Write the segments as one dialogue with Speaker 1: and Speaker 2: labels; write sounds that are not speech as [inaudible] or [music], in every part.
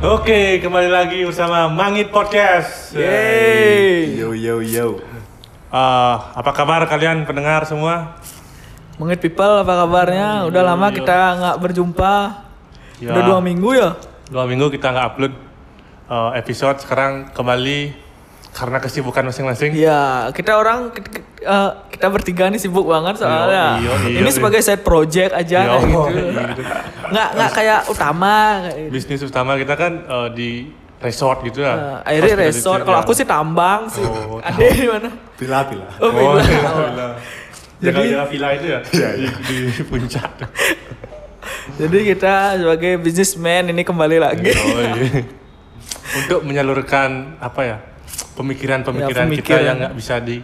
Speaker 1: Oke, kembali lagi bersama Mangit Podcast.
Speaker 2: Yeay.
Speaker 3: Yo yo yo.
Speaker 1: Eh, apa kabar kalian pendengar semua?
Speaker 2: Mengit people apa kabarnya? Udah lama kita nggak berjumpa.
Speaker 1: Ya.
Speaker 2: Udah dua minggu ya.
Speaker 1: Dua minggu kita nggak upload eh, episode, sekarang kembali karena kesibukan masing-masing.
Speaker 2: Iya, kita orang ke- ke- eh, kita bertiga nih sibuk banget soalnya.
Speaker 1: Iya, iya,
Speaker 2: Ini
Speaker 1: iya.
Speaker 2: sebagai side project aja
Speaker 1: Iya,
Speaker 2: kayak gitu.
Speaker 1: [laughs] iya, gitu.
Speaker 2: Nggak nggak kayak utama. kayak gitu.
Speaker 1: Bisnis utama kita kan eh, di resort gitu
Speaker 2: Eh,
Speaker 1: ya.
Speaker 2: akhirnya
Speaker 1: Hospitality,
Speaker 2: resort.
Speaker 1: ya.
Speaker 2: Kalau [laughs] aku sih tambang sih. [laughs]
Speaker 1: Oh,
Speaker 2: Ada di mana?
Speaker 3: Pila pila.
Speaker 2: Oh,
Speaker 1: Oh,
Speaker 2: beda.
Speaker 1: iya, villa.
Speaker 2: Jadi-
Speaker 1: Jaga-jaga villa itu ya?
Speaker 3: Iya,
Speaker 1: Di, di puncak.
Speaker 2: Jadi kita sebagai businessman ini kembali lagi.
Speaker 1: Oh, iya. Untuk menyalurkan apa ya pemikiran-pemikiran kita
Speaker 2: Ya, pemikiran.
Speaker 1: yang nggak bisa di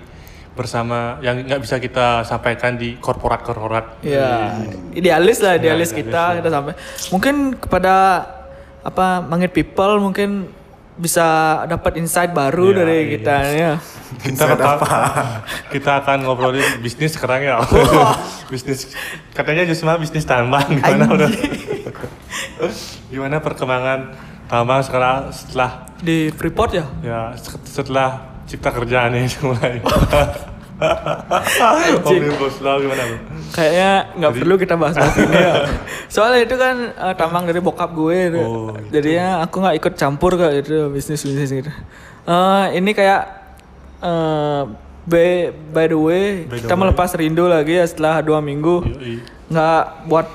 Speaker 1: bersama yang nggak bisa kita sampaikan di korporat-korporat.
Speaker 2: Ya, idealis lah,
Speaker 1: idealis
Speaker 2: idealis kita, kita sampai. Mungkin kepada apa Mangit People mungkin bisa dapat insight baru
Speaker 1: Ya,
Speaker 2: dari
Speaker 1: iya.
Speaker 2: kita ya.
Speaker 1: Kita bakal- [laughs] Kita akan ngobrolin bisnis sekarang ya. [laughs] bisnis katanya justru malah bisnis tambang gimana udah. [laughs] gimana perkembangan tambang sekarang setelah
Speaker 2: Di Freeport ya.
Speaker 1: ya setelah cipta kerja nih [laughs] mulai. Omnibus Law gimana? Bu?
Speaker 2: Kayaknya nggak perlu kita bahas bahas ini
Speaker 1: [laughs]
Speaker 2: ya. Soalnya itu kan eh, tambang dari bokap gue. itu.
Speaker 1: Oh, gitu.
Speaker 2: Jadinya aku nggak ikut campur kayak gitu bisnis bisnis gitu. Eh, ini kayak eh, by, by the way
Speaker 1: By the
Speaker 2: kita
Speaker 1: way.
Speaker 2: melepas rindu lagi ya setelah dua minggu.
Speaker 1: Yoi.
Speaker 2: nggak buat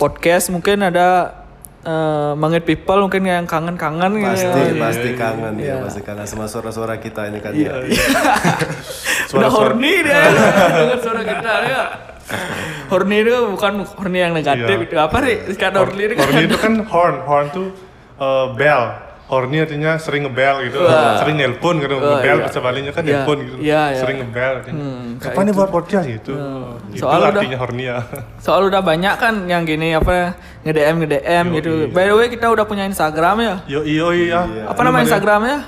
Speaker 2: podcast mungkin ada eh, mangit people mungkin yang kangen-kangen gitu
Speaker 3: Pasti
Speaker 2: ya.
Speaker 3: pasti
Speaker 1: iya,
Speaker 3: kangen
Speaker 2: iya.
Speaker 3: ya, pasti kangen sama suara-suara kita ini kan. ya.
Speaker 2: Udah
Speaker 1: Suara-suara-
Speaker 2: horny dia ya.
Speaker 1: [laughs]
Speaker 2: dengar suara kita ya. Horny itu bukan horny yang negatif
Speaker 1: Iya.
Speaker 2: itu apa sih? Kata
Speaker 1: Hor-
Speaker 2: horny itu kan.
Speaker 1: horny itu kan horn, horn tuh eh, bell. Horny artinya sering ngebel gitu,
Speaker 2: Wah.
Speaker 1: sering nelpon gitu,
Speaker 2: Wah,
Speaker 1: ngebel
Speaker 2: iya.
Speaker 1: bahasa Balinya kan
Speaker 2: Iya,
Speaker 1: nelpon gitu,
Speaker 2: iya, iya.
Speaker 1: sering ngebel. artinya.
Speaker 2: Hmm, kayak
Speaker 1: Kapan nih buat podcast gitu? Itu
Speaker 2: Soalnya udah-
Speaker 1: artinya horny ya.
Speaker 2: Soal udah banyak kan yang gini apa nge-DM nge-DM gitu. By the way kita udah punya Instagram ya.
Speaker 1: [laughs] Yo iyo iya.
Speaker 2: Apa nama ya? Instagramnya?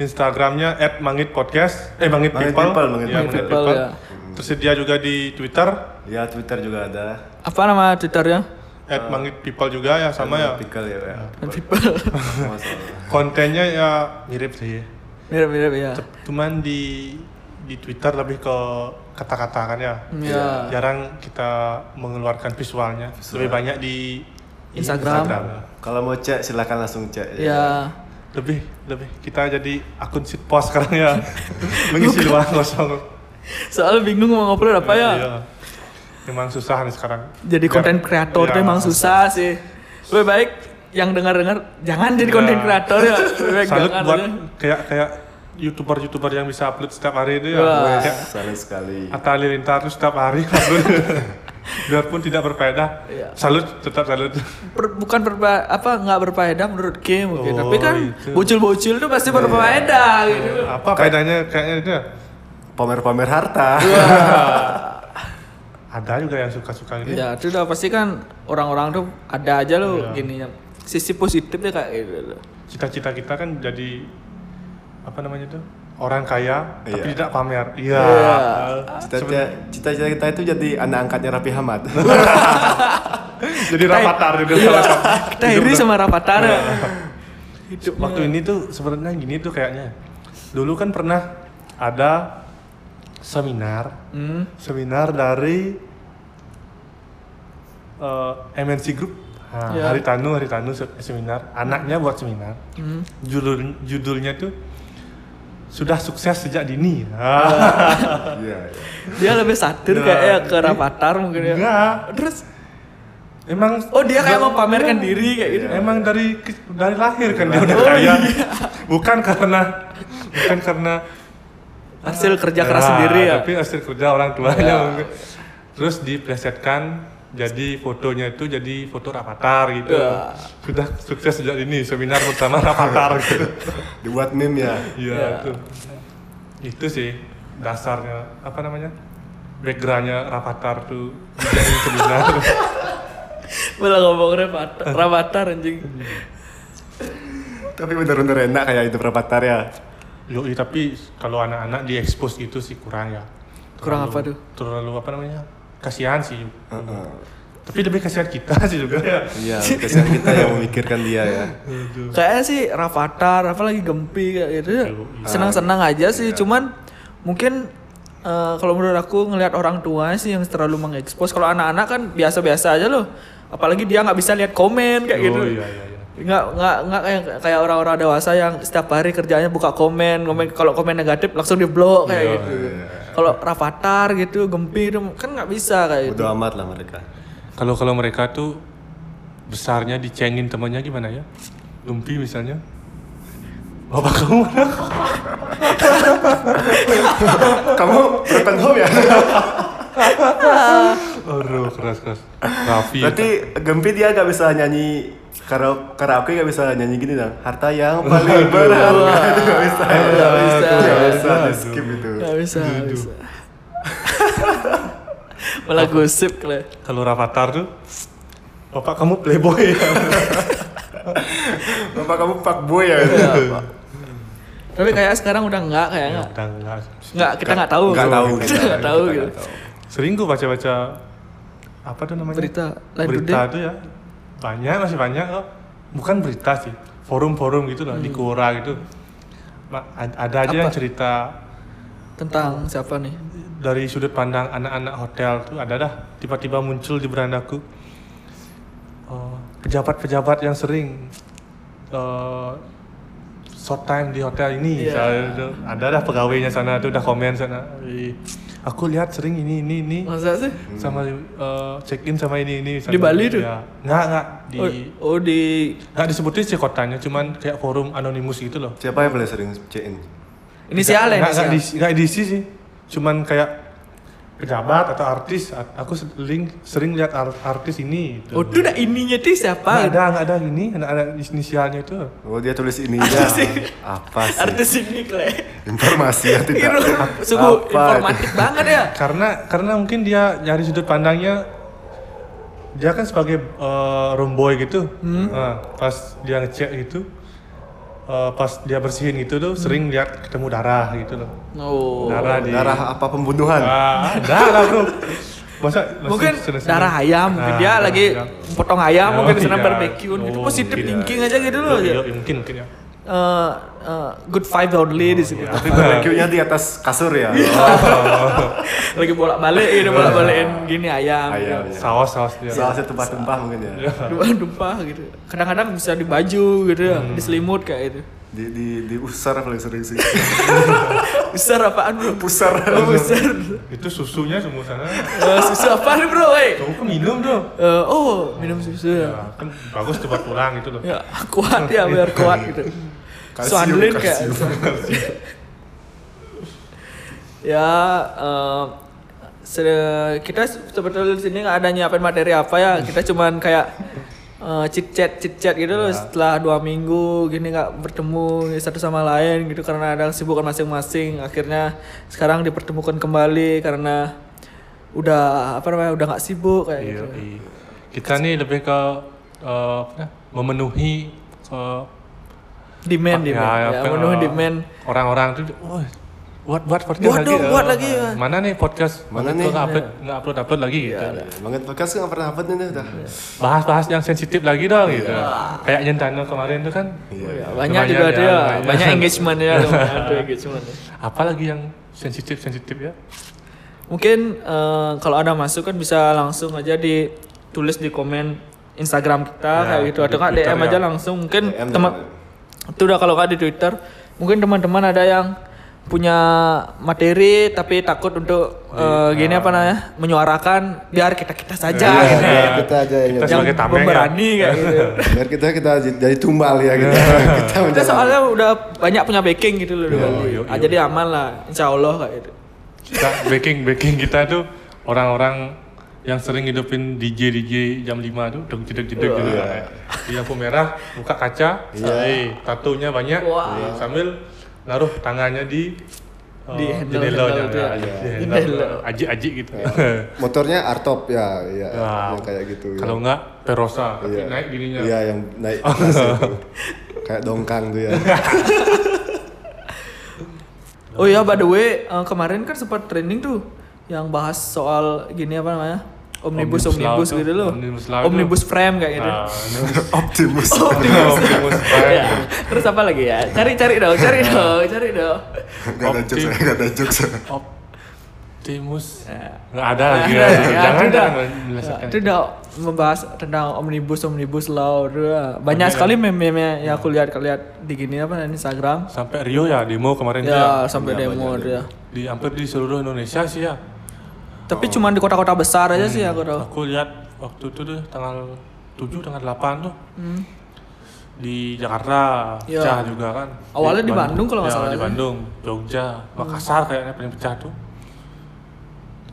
Speaker 1: Instagramnya @mangitpodcast, eh mangit
Speaker 3: Mangit
Speaker 1: people,
Speaker 3: People, Mangit
Speaker 1: Iya,
Speaker 3: People.
Speaker 1: Mangit
Speaker 2: People,
Speaker 1: People.
Speaker 2: ya.
Speaker 1: Tersedia juga di Twitter
Speaker 3: Ya Twitter juga ada.
Speaker 2: Apa nama ya? Twitternya?
Speaker 1: Ah. @mangitpeople juga ya sama ya.
Speaker 3: Pickle ya. ya.
Speaker 1: [laughs]
Speaker 2: People.
Speaker 3: Sama sama.
Speaker 1: Kontennya ya mirip sih.
Speaker 2: Mirip-mirip ya.
Speaker 1: Cuman di di Twitter lebih ke kata-kata kan ya.
Speaker 2: Ya.
Speaker 1: jarang kita mengeluarkan visualnya lebih banyak di
Speaker 2: Instagram.
Speaker 3: Kalau mau cek silakan langsung cek. ya.
Speaker 2: Ya.
Speaker 1: lebih lebih kita jadi akun sitpos sekarang
Speaker 2: [laughs]
Speaker 1: ya mengisi ruang kosong
Speaker 2: Soalnya bingung mau ngobrol apa ya.
Speaker 1: Iya. memang susah nih sekarang
Speaker 2: jadi
Speaker 1: Biar-
Speaker 2: konten kreator
Speaker 1: Iya.
Speaker 2: tuh emang susah sih. Lebih baik yang dengar-dengar jangan jadi
Speaker 1: Iya.
Speaker 2: konten kreator ya. Lebih baik
Speaker 1: salut
Speaker 2: jangan
Speaker 1: buat
Speaker 2: aja.
Speaker 1: kayak kayak youtuber youtuber yang bisa upload setiap hari itu ya
Speaker 2: Wah.
Speaker 1: kayak
Speaker 3: Salut sekali.
Speaker 1: Atta Halilintar tuh setiap
Speaker 2: [laughs]
Speaker 1: hari upload biarpun tidak berfaedah
Speaker 2: Iya.
Speaker 1: salut tetap salut
Speaker 2: Per- bukan berpa, apa nggak berfaedah menurut Kim mungkin.
Speaker 1: Oh,
Speaker 2: Tapi kan
Speaker 1: itu. Iya.
Speaker 2: bocil-bocil tuh pasti berfaedah gitu.
Speaker 1: apa faedahnya kayaknya itu ya?
Speaker 3: Pamer-pamer harta.
Speaker 1: ada juga yang suka-suka gitu
Speaker 2: Ya, itu udah pasti kan orang-orang tuh ada aja
Speaker 1: Iya.
Speaker 2: loh gini ya. Sisi positifnya kayak gitu loh.
Speaker 1: cita-cita kita kan jadi apa namanya tuh orang kaya tapi
Speaker 3: Iya.
Speaker 1: tidak pamer iya
Speaker 2: Iya.
Speaker 3: Cita-cita cita-cita kita itu jadi anak angkatnya Raffi Ahmad.
Speaker 1: jadi rapatar gitu salah satu.
Speaker 2: Iya. Kita iri sama Rapatar. ya.
Speaker 1: Iya. waktu ini tuh sebenarnya gini tuh kayaknya dulu kan pernah ada seminar
Speaker 2: Hmm.
Speaker 1: seminar dari eh, MNC Group Nah,
Speaker 2: Iya.
Speaker 1: Hari Tanu Hari Tanu se- seminar anaknya buat seminar
Speaker 2: Hmm.
Speaker 1: judul judulnya tuh sudah sukses sejak dini Ah.
Speaker 3: Iya. iya.
Speaker 2: Dia lebih
Speaker 1: Nah,
Speaker 2: satir kayaknya ke Rapatar mungkin ya.
Speaker 1: enggak
Speaker 2: Terus
Speaker 1: Emang
Speaker 2: oh dia kayak
Speaker 1: emang-
Speaker 2: mau pamerkan diri kayak gitu.
Speaker 1: Emang dari ke- dari lahir kan dia udah
Speaker 2: Oh,
Speaker 1: kaya. Bukan karena bukan karena
Speaker 2: Hasil kerja keras
Speaker 1: Nah,
Speaker 2: sendiri ya. Iya.
Speaker 1: Tapi hasil kerja orang tuanya. mungkin. Terus diplesetkan jadi fotonya itu jadi foto rapatar gitu.
Speaker 2: Ya.
Speaker 1: Sudah sukses sejak ini seminar bersama rapatar gitu.
Speaker 3: Dibuat meme ya.
Speaker 1: Iya
Speaker 2: Ya.
Speaker 1: itu. Itu sih dasarnya apa namanya? backgroundnya rapatar tuh dijadiin seminar.
Speaker 2: Malah ngomong
Speaker 1: Eh.
Speaker 2: rapatar, rapatar anjing.
Speaker 3: Tapi bener-bener enak kayak itu Rafathar ya.
Speaker 1: Yoi, tapi kalau anak-anak diekspos gitu sih kurang ya.
Speaker 2: Kurang apa tuh?
Speaker 1: Terlalu apa namanya? Kasihan sih.
Speaker 3: Heeh.
Speaker 1: Tapi lebih kasihan kita [laughs] sih juga ya.
Speaker 3: Iya, kasihan kita yang memikirkan dia ya.
Speaker 2: Kayaknya sih Rafathar, apa lagi Gempi kayak gitu.
Speaker 1: Iya.
Speaker 2: Senang-senang aja sih, cuman mungkin eh, kalau menurut aku ngelihat orang tua sih yang terlalu mengekspos. Kalau anak-anak kan biasa-biasa aja loh. Apalagi dia nggak bisa lihat komen kayak gitu.
Speaker 1: Oh, iya, iya, iya.
Speaker 2: Nggak nggak nggak kayak kayak orang-orang dewasa yang setiap hari kerjanya buka komen, komen kalau komen negatif langsung diblok kayak
Speaker 1: Iya,
Speaker 2: gitu. Kalau Rafathar gitu, Gempi itu kan nggak bisa kayak gitu.
Speaker 3: Bodoh amat lah mereka.
Speaker 1: Kalau kalau mereka tuh besarnya dicengin temannya gimana ya? Lumpi misalnya. Bapak kamu mana?
Speaker 3: Kamu broken home ya?
Speaker 1: Aduh, keras keras. Raffi.
Speaker 3: Berarti Gempi dia gak bisa nyanyi karaoke, karaoke gak bisa nyanyi gini dong. Harta yang paling berharga. [laughs] Gak bisa.
Speaker 2: Nggak bisa.
Speaker 3: Gak bisa. di Skip itu.
Speaker 2: Gak bisa,
Speaker 1: Iya,
Speaker 2: gak bisa. Malah gosip kali.
Speaker 1: Kalau Rafathar tuh Bapak kamu playboy ya?
Speaker 3: Bapak kamu pak boy ya.
Speaker 2: Iya, Tapi kayak sekarang udah enggak kayak enggak.
Speaker 1: Udah enggak.
Speaker 2: Enggak, kita enggak tahu.
Speaker 3: Nggak tahu
Speaker 2: Kita
Speaker 3: kita.
Speaker 2: enggak tahu
Speaker 3: Kita
Speaker 2: gitu.
Speaker 3: nggak tahu.
Speaker 1: Sering gue baca-baca apa tuh namanya?
Speaker 2: Berita Line
Speaker 1: berita
Speaker 2: Today.
Speaker 1: itu ya banyak masih banyak kok bukan berita sih forum-forum gitu lah di Quora gitu Ma- ad- ada aja
Speaker 2: Hmm. Apa?
Speaker 1: yang cerita
Speaker 2: Tentang siapa nih?
Speaker 1: dari sudut pandang anak-anak hotel tuh ada dah tiba-tiba muncul di berandaku eh, pejabat-pejabat yang sering eh, short time di hotel ini
Speaker 2: Iya.
Speaker 1: misalnya tuh. ada dah pegawainya sana tuh udah komen sana "Ih, aku lihat sering ini ini ini
Speaker 2: Masa sih?
Speaker 1: sama eh, check in sama ini ini
Speaker 2: Hmm. Di Bali tuh?
Speaker 1: ya. nggak nggak di
Speaker 2: Oh, oh, di
Speaker 1: nggak disebutin sih kotanya cuman kayak forum anonimus gitu loh
Speaker 3: Siapa yang paling sering cekin?
Speaker 2: inisial ya,
Speaker 1: nggak nggak
Speaker 2: inisial.
Speaker 1: diisi, nggak diisi sih cuman kayak pejabat atau artis A- aku sering sering lihat ar- artis ini gitu.
Speaker 2: Oh, itu udah ininya tuh
Speaker 1: nggak
Speaker 2: siapa?
Speaker 1: ada nggak ada ini nggak ada inisialnya itu
Speaker 3: Oh dia tulis ini ya.
Speaker 2: Apa sih?
Speaker 3: Apa sih?
Speaker 2: Artis ini kali.
Speaker 3: Informasi ya tidak.
Speaker 2: Sungguh
Speaker 3: Apa itu?
Speaker 2: informatif banget ya.
Speaker 1: karena karena mungkin dia nyari sudut pandangnya dia kan sebagai eh, room boy gitu Nah, pas dia ngecek gitu eh, pas dia bersihin gitu tuh sering lihat ketemu darah gitu loh
Speaker 2: Oh.
Speaker 1: darah di
Speaker 3: Darah apa pembunuhan?
Speaker 1: ah, darah bro masa masih
Speaker 2: mungkin
Speaker 1: senang-senang.
Speaker 2: darah ayam mungkin
Speaker 1: Ah,
Speaker 2: dia
Speaker 1: darah
Speaker 2: lagi
Speaker 1: ayam.
Speaker 2: potong ayam
Speaker 1: Oh,
Speaker 2: mungkin di sana
Speaker 1: tidak.
Speaker 2: barbeque gitu
Speaker 1: Oh, Iya,
Speaker 2: positif
Speaker 1: tidak.
Speaker 2: thinking aja gitu
Speaker 1: Yo,
Speaker 2: loh ya
Speaker 1: yo, mungkin mungkin ya
Speaker 2: Eh, eh, good vibe only
Speaker 1: Oh,
Speaker 2: di situ
Speaker 1: iya.
Speaker 3: Tapi barbeque-nya di atas kasur ya.
Speaker 2: Iya.
Speaker 3: Oh,
Speaker 2: [laughs] lagi bolak balik
Speaker 1: Iya.
Speaker 2: gitu bolak balikin gini ayam,
Speaker 3: Ayam,
Speaker 2: gitu.
Speaker 3: ya.
Speaker 1: saus saus dia
Speaker 3: Salah satu tumpah-tumpah mungkin ya.
Speaker 2: Dumpah, dumpah gitu kadang-kadang bisa di baju gitu ya di selimut kayak itu
Speaker 3: Di di di usar paling sering sih.
Speaker 2: besar apaan bro
Speaker 3: Pusar.
Speaker 2: Oh, besar
Speaker 1: itu susunya semua sana
Speaker 2: Eh, susu apa nih bro eh
Speaker 1: kamu kok minum bro
Speaker 2: Eh, oh minum susu ya
Speaker 1: Ya, kan bagus cepat pulang gitu loh
Speaker 2: ya kuat ya biar
Speaker 1: [laughs]
Speaker 2: kuat gitu Soandelin kayak gitu.
Speaker 3: kalsium.
Speaker 2: ya eh, se- kita se- sebetulnya di sini nggak ada nyiapin materi apa ya kita cuman kayak eh, chit chat chit chat gitu
Speaker 1: Ya.
Speaker 2: loh setelah dua minggu gini nggak bertemu satu sama lain gitu karena ada kesibukan masing-masing akhirnya sekarang dipertemukan kembali karena udah apa namanya udah nggak sibuk kayak
Speaker 1: Iya,
Speaker 2: gitu
Speaker 1: iya. Kita nih lebih ke eh, apa ya, memenuhi ke
Speaker 2: demand
Speaker 1: ya,
Speaker 2: demand ya,
Speaker 1: apa ya,
Speaker 2: menuhi
Speaker 1: eh,
Speaker 2: demand
Speaker 1: Orang-orang tuh wah buat buat podcast
Speaker 2: Buat
Speaker 1: lagi.
Speaker 2: dong,
Speaker 1: eh,
Speaker 2: buat lagi, Iya. ya."
Speaker 1: Mana nih podcast? Gitu,
Speaker 3: Mana
Speaker 1: Nggak
Speaker 3: nih?
Speaker 1: upload nggak upload upload lagi
Speaker 2: Iya,
Speaker 1: gitu.
Speaker 3: Banget bekas nggak pernah apa nih udah.
Speaker 1: Bahas-bahas yang sensitif lagi dong gitu. Kayak Nyentano kemarin tuh kan
Speaker 2: Ya,
Speaker 3: Iya.
Speaker 2: banyak
Speaker 1: Lumayan
Speaker 2: juga
Speaker 1: ya,
Speaker 2: dia
Speaker 1: lumayan. [laughs]
Speaker 2: banyak engagement ya lumayan ada engagement ya.
Speaker 1: apalagi yang sensitif sensitif ya.
Speaker 2: Mungkin eh, kalau ada masuk kan bisa langsung aja ditulis di komen Instagram kita
Speaker 1: Ya,
Speaker 2: kayak gitu atau
Speaker 1: di
Speaker 2: nggak
Speaker 1: Twitter
Speaker 2: DM aja
Speaker 1: ya.
Speaker 2: langsung mungkin
Speaker 3: DM,
Speaker 2: teman itu udah kalau nggak di Twitter mungkin teman-teman ada yang punya materi tapi takut untuk eh, gini apa namanya menyuarakan biar kita kita saja
Speaker 1: Ah.
Speaker 2: gitu.
Speaker 1: Iya.
Speaker 3: Ya, kita aja yang
Speaker 1: Kita
Speaker 2: yang
Speaker 1: sebagai tameng ya.
Speaker 2: pemberani kayak gitu.
Speaker 1: [laughs]
Speaker 3: biar kita kita jadi tumbal ya kita.
Speaker 4: [laughs]
Speaker 3: kita
Speaker 2: Kita
Speaker 3: menjadi-
Speaker 2: soalnya udah banyak punya backing gitu loh. Bali. Ah, Jadi aman lah, insya Allah kayak gitu.
Speaker 1: Kita backing backing kita tuh orang-orang yang sering hidupin DJ DJ jam 5 tuh deg jedeg jedeg
Speaker 3: Iya.
Speaker 1: gitu kan. Dia lampu merah, buka kaca, eh, tatunya banyak,
Speaker 2: Wah.
Speaker 1: eh, sambil naruh tangannya di
Speaker 2: Di handle-
Speaker 1: jendelanya,
Speaker 2: handle
Speaker 1: ya,
Speaker 2: itu ya.
Speaker 1: di
Speaker 2: Jendela.
Speaker 1: handle, aji-aji gitu.
Speaker 3: Iya.
Speaker 1: [laughs]
Speaker 4: motornya artop ya iya
Speaker 1: Nah,
Speaker 4: yang kayak gitu ya.
Speaker 1: Kalau enggak Perosa, tapi
Speaker 4: Iya.
Speaker 1: naik gininya.
Speaker 4: iya yang naik kelas itu. kayak dongkang tuh ya
Speaker 1: Nah.
Speaker 2: Oh iya, by the way, eh, kemarin kan sempat trending tuh yang bahas soal gini apa namanya?
Speaker 1: Omnibus
Speaker 2: omnibus
Speaker 1: Law
Speaker 2: omnibus
Speaker 1: tuh,
Speaker 2: gitu loh
Speaker 1: Omnibus
Speaker 2: omnibus,
Speaker 1: Law tuh.
Speaker 2: frame kayak gitu
Speaker 1: Nah, [laughs] ini-
Speaker 3: Optimus.
Speaker 2: omnibus
Speaker 1: Omnibus
Speaker 2: ya. terus apa lagi ya cari cari dong
Speaker 1: [laughs]
Speaker 2: cari dong cari dong
Speaker 4: Gak ada jokes,
Speaker 1: Optim-
Speaker 4: gak ada jokes.
Speaker 1: Optimus.
Speaker 2: Nah.
Speaker 1: Iya. Nggak ada lagi.
Speaker 2: Nah,
Speaker 1: ya.
Speaker 2: ya,
Speaker 1: Jangan
Speaker 2: tidak.
Speaker 1: jangan melesetkan.
Speaker 2: Nah, itu udah membahas tentang omnibus omnibus law udah. banyak sekali meme-meme yang aku lihat lihat di gini apa di Instagram
Speaker 1: Sampai Rio ya demo kemarin dia.
Speaker 2: ya sampai
Speaker 1: Iya,
Speaker 2: demo ya.
Speaker 1: Di hampir di seluruh Indonesia sih ya.
Speaker 2: tapi cuman di kota-kota besar aja sih
Speaker 1: Hmm.
Speaker 2: aku tahu
Speaker 1: Aku lihat waktu itu tuh tanggal 7 tanggal 8 tuh
Speaker 2: Hmm.
Speaker 1: di Jakarta
Speaker 2: Iya.
Speaker 1: pecah juga kan.
Speaker 2: Awalnya di Bandung kalau nggak
Speaker 1: Ya,
Speaker 2: salah
Speaker 1: Di
Speaker 2: ya. Hmm.
Speaker 1: Bandung, Jogja, Makassar kayaknya paling pecah tuh.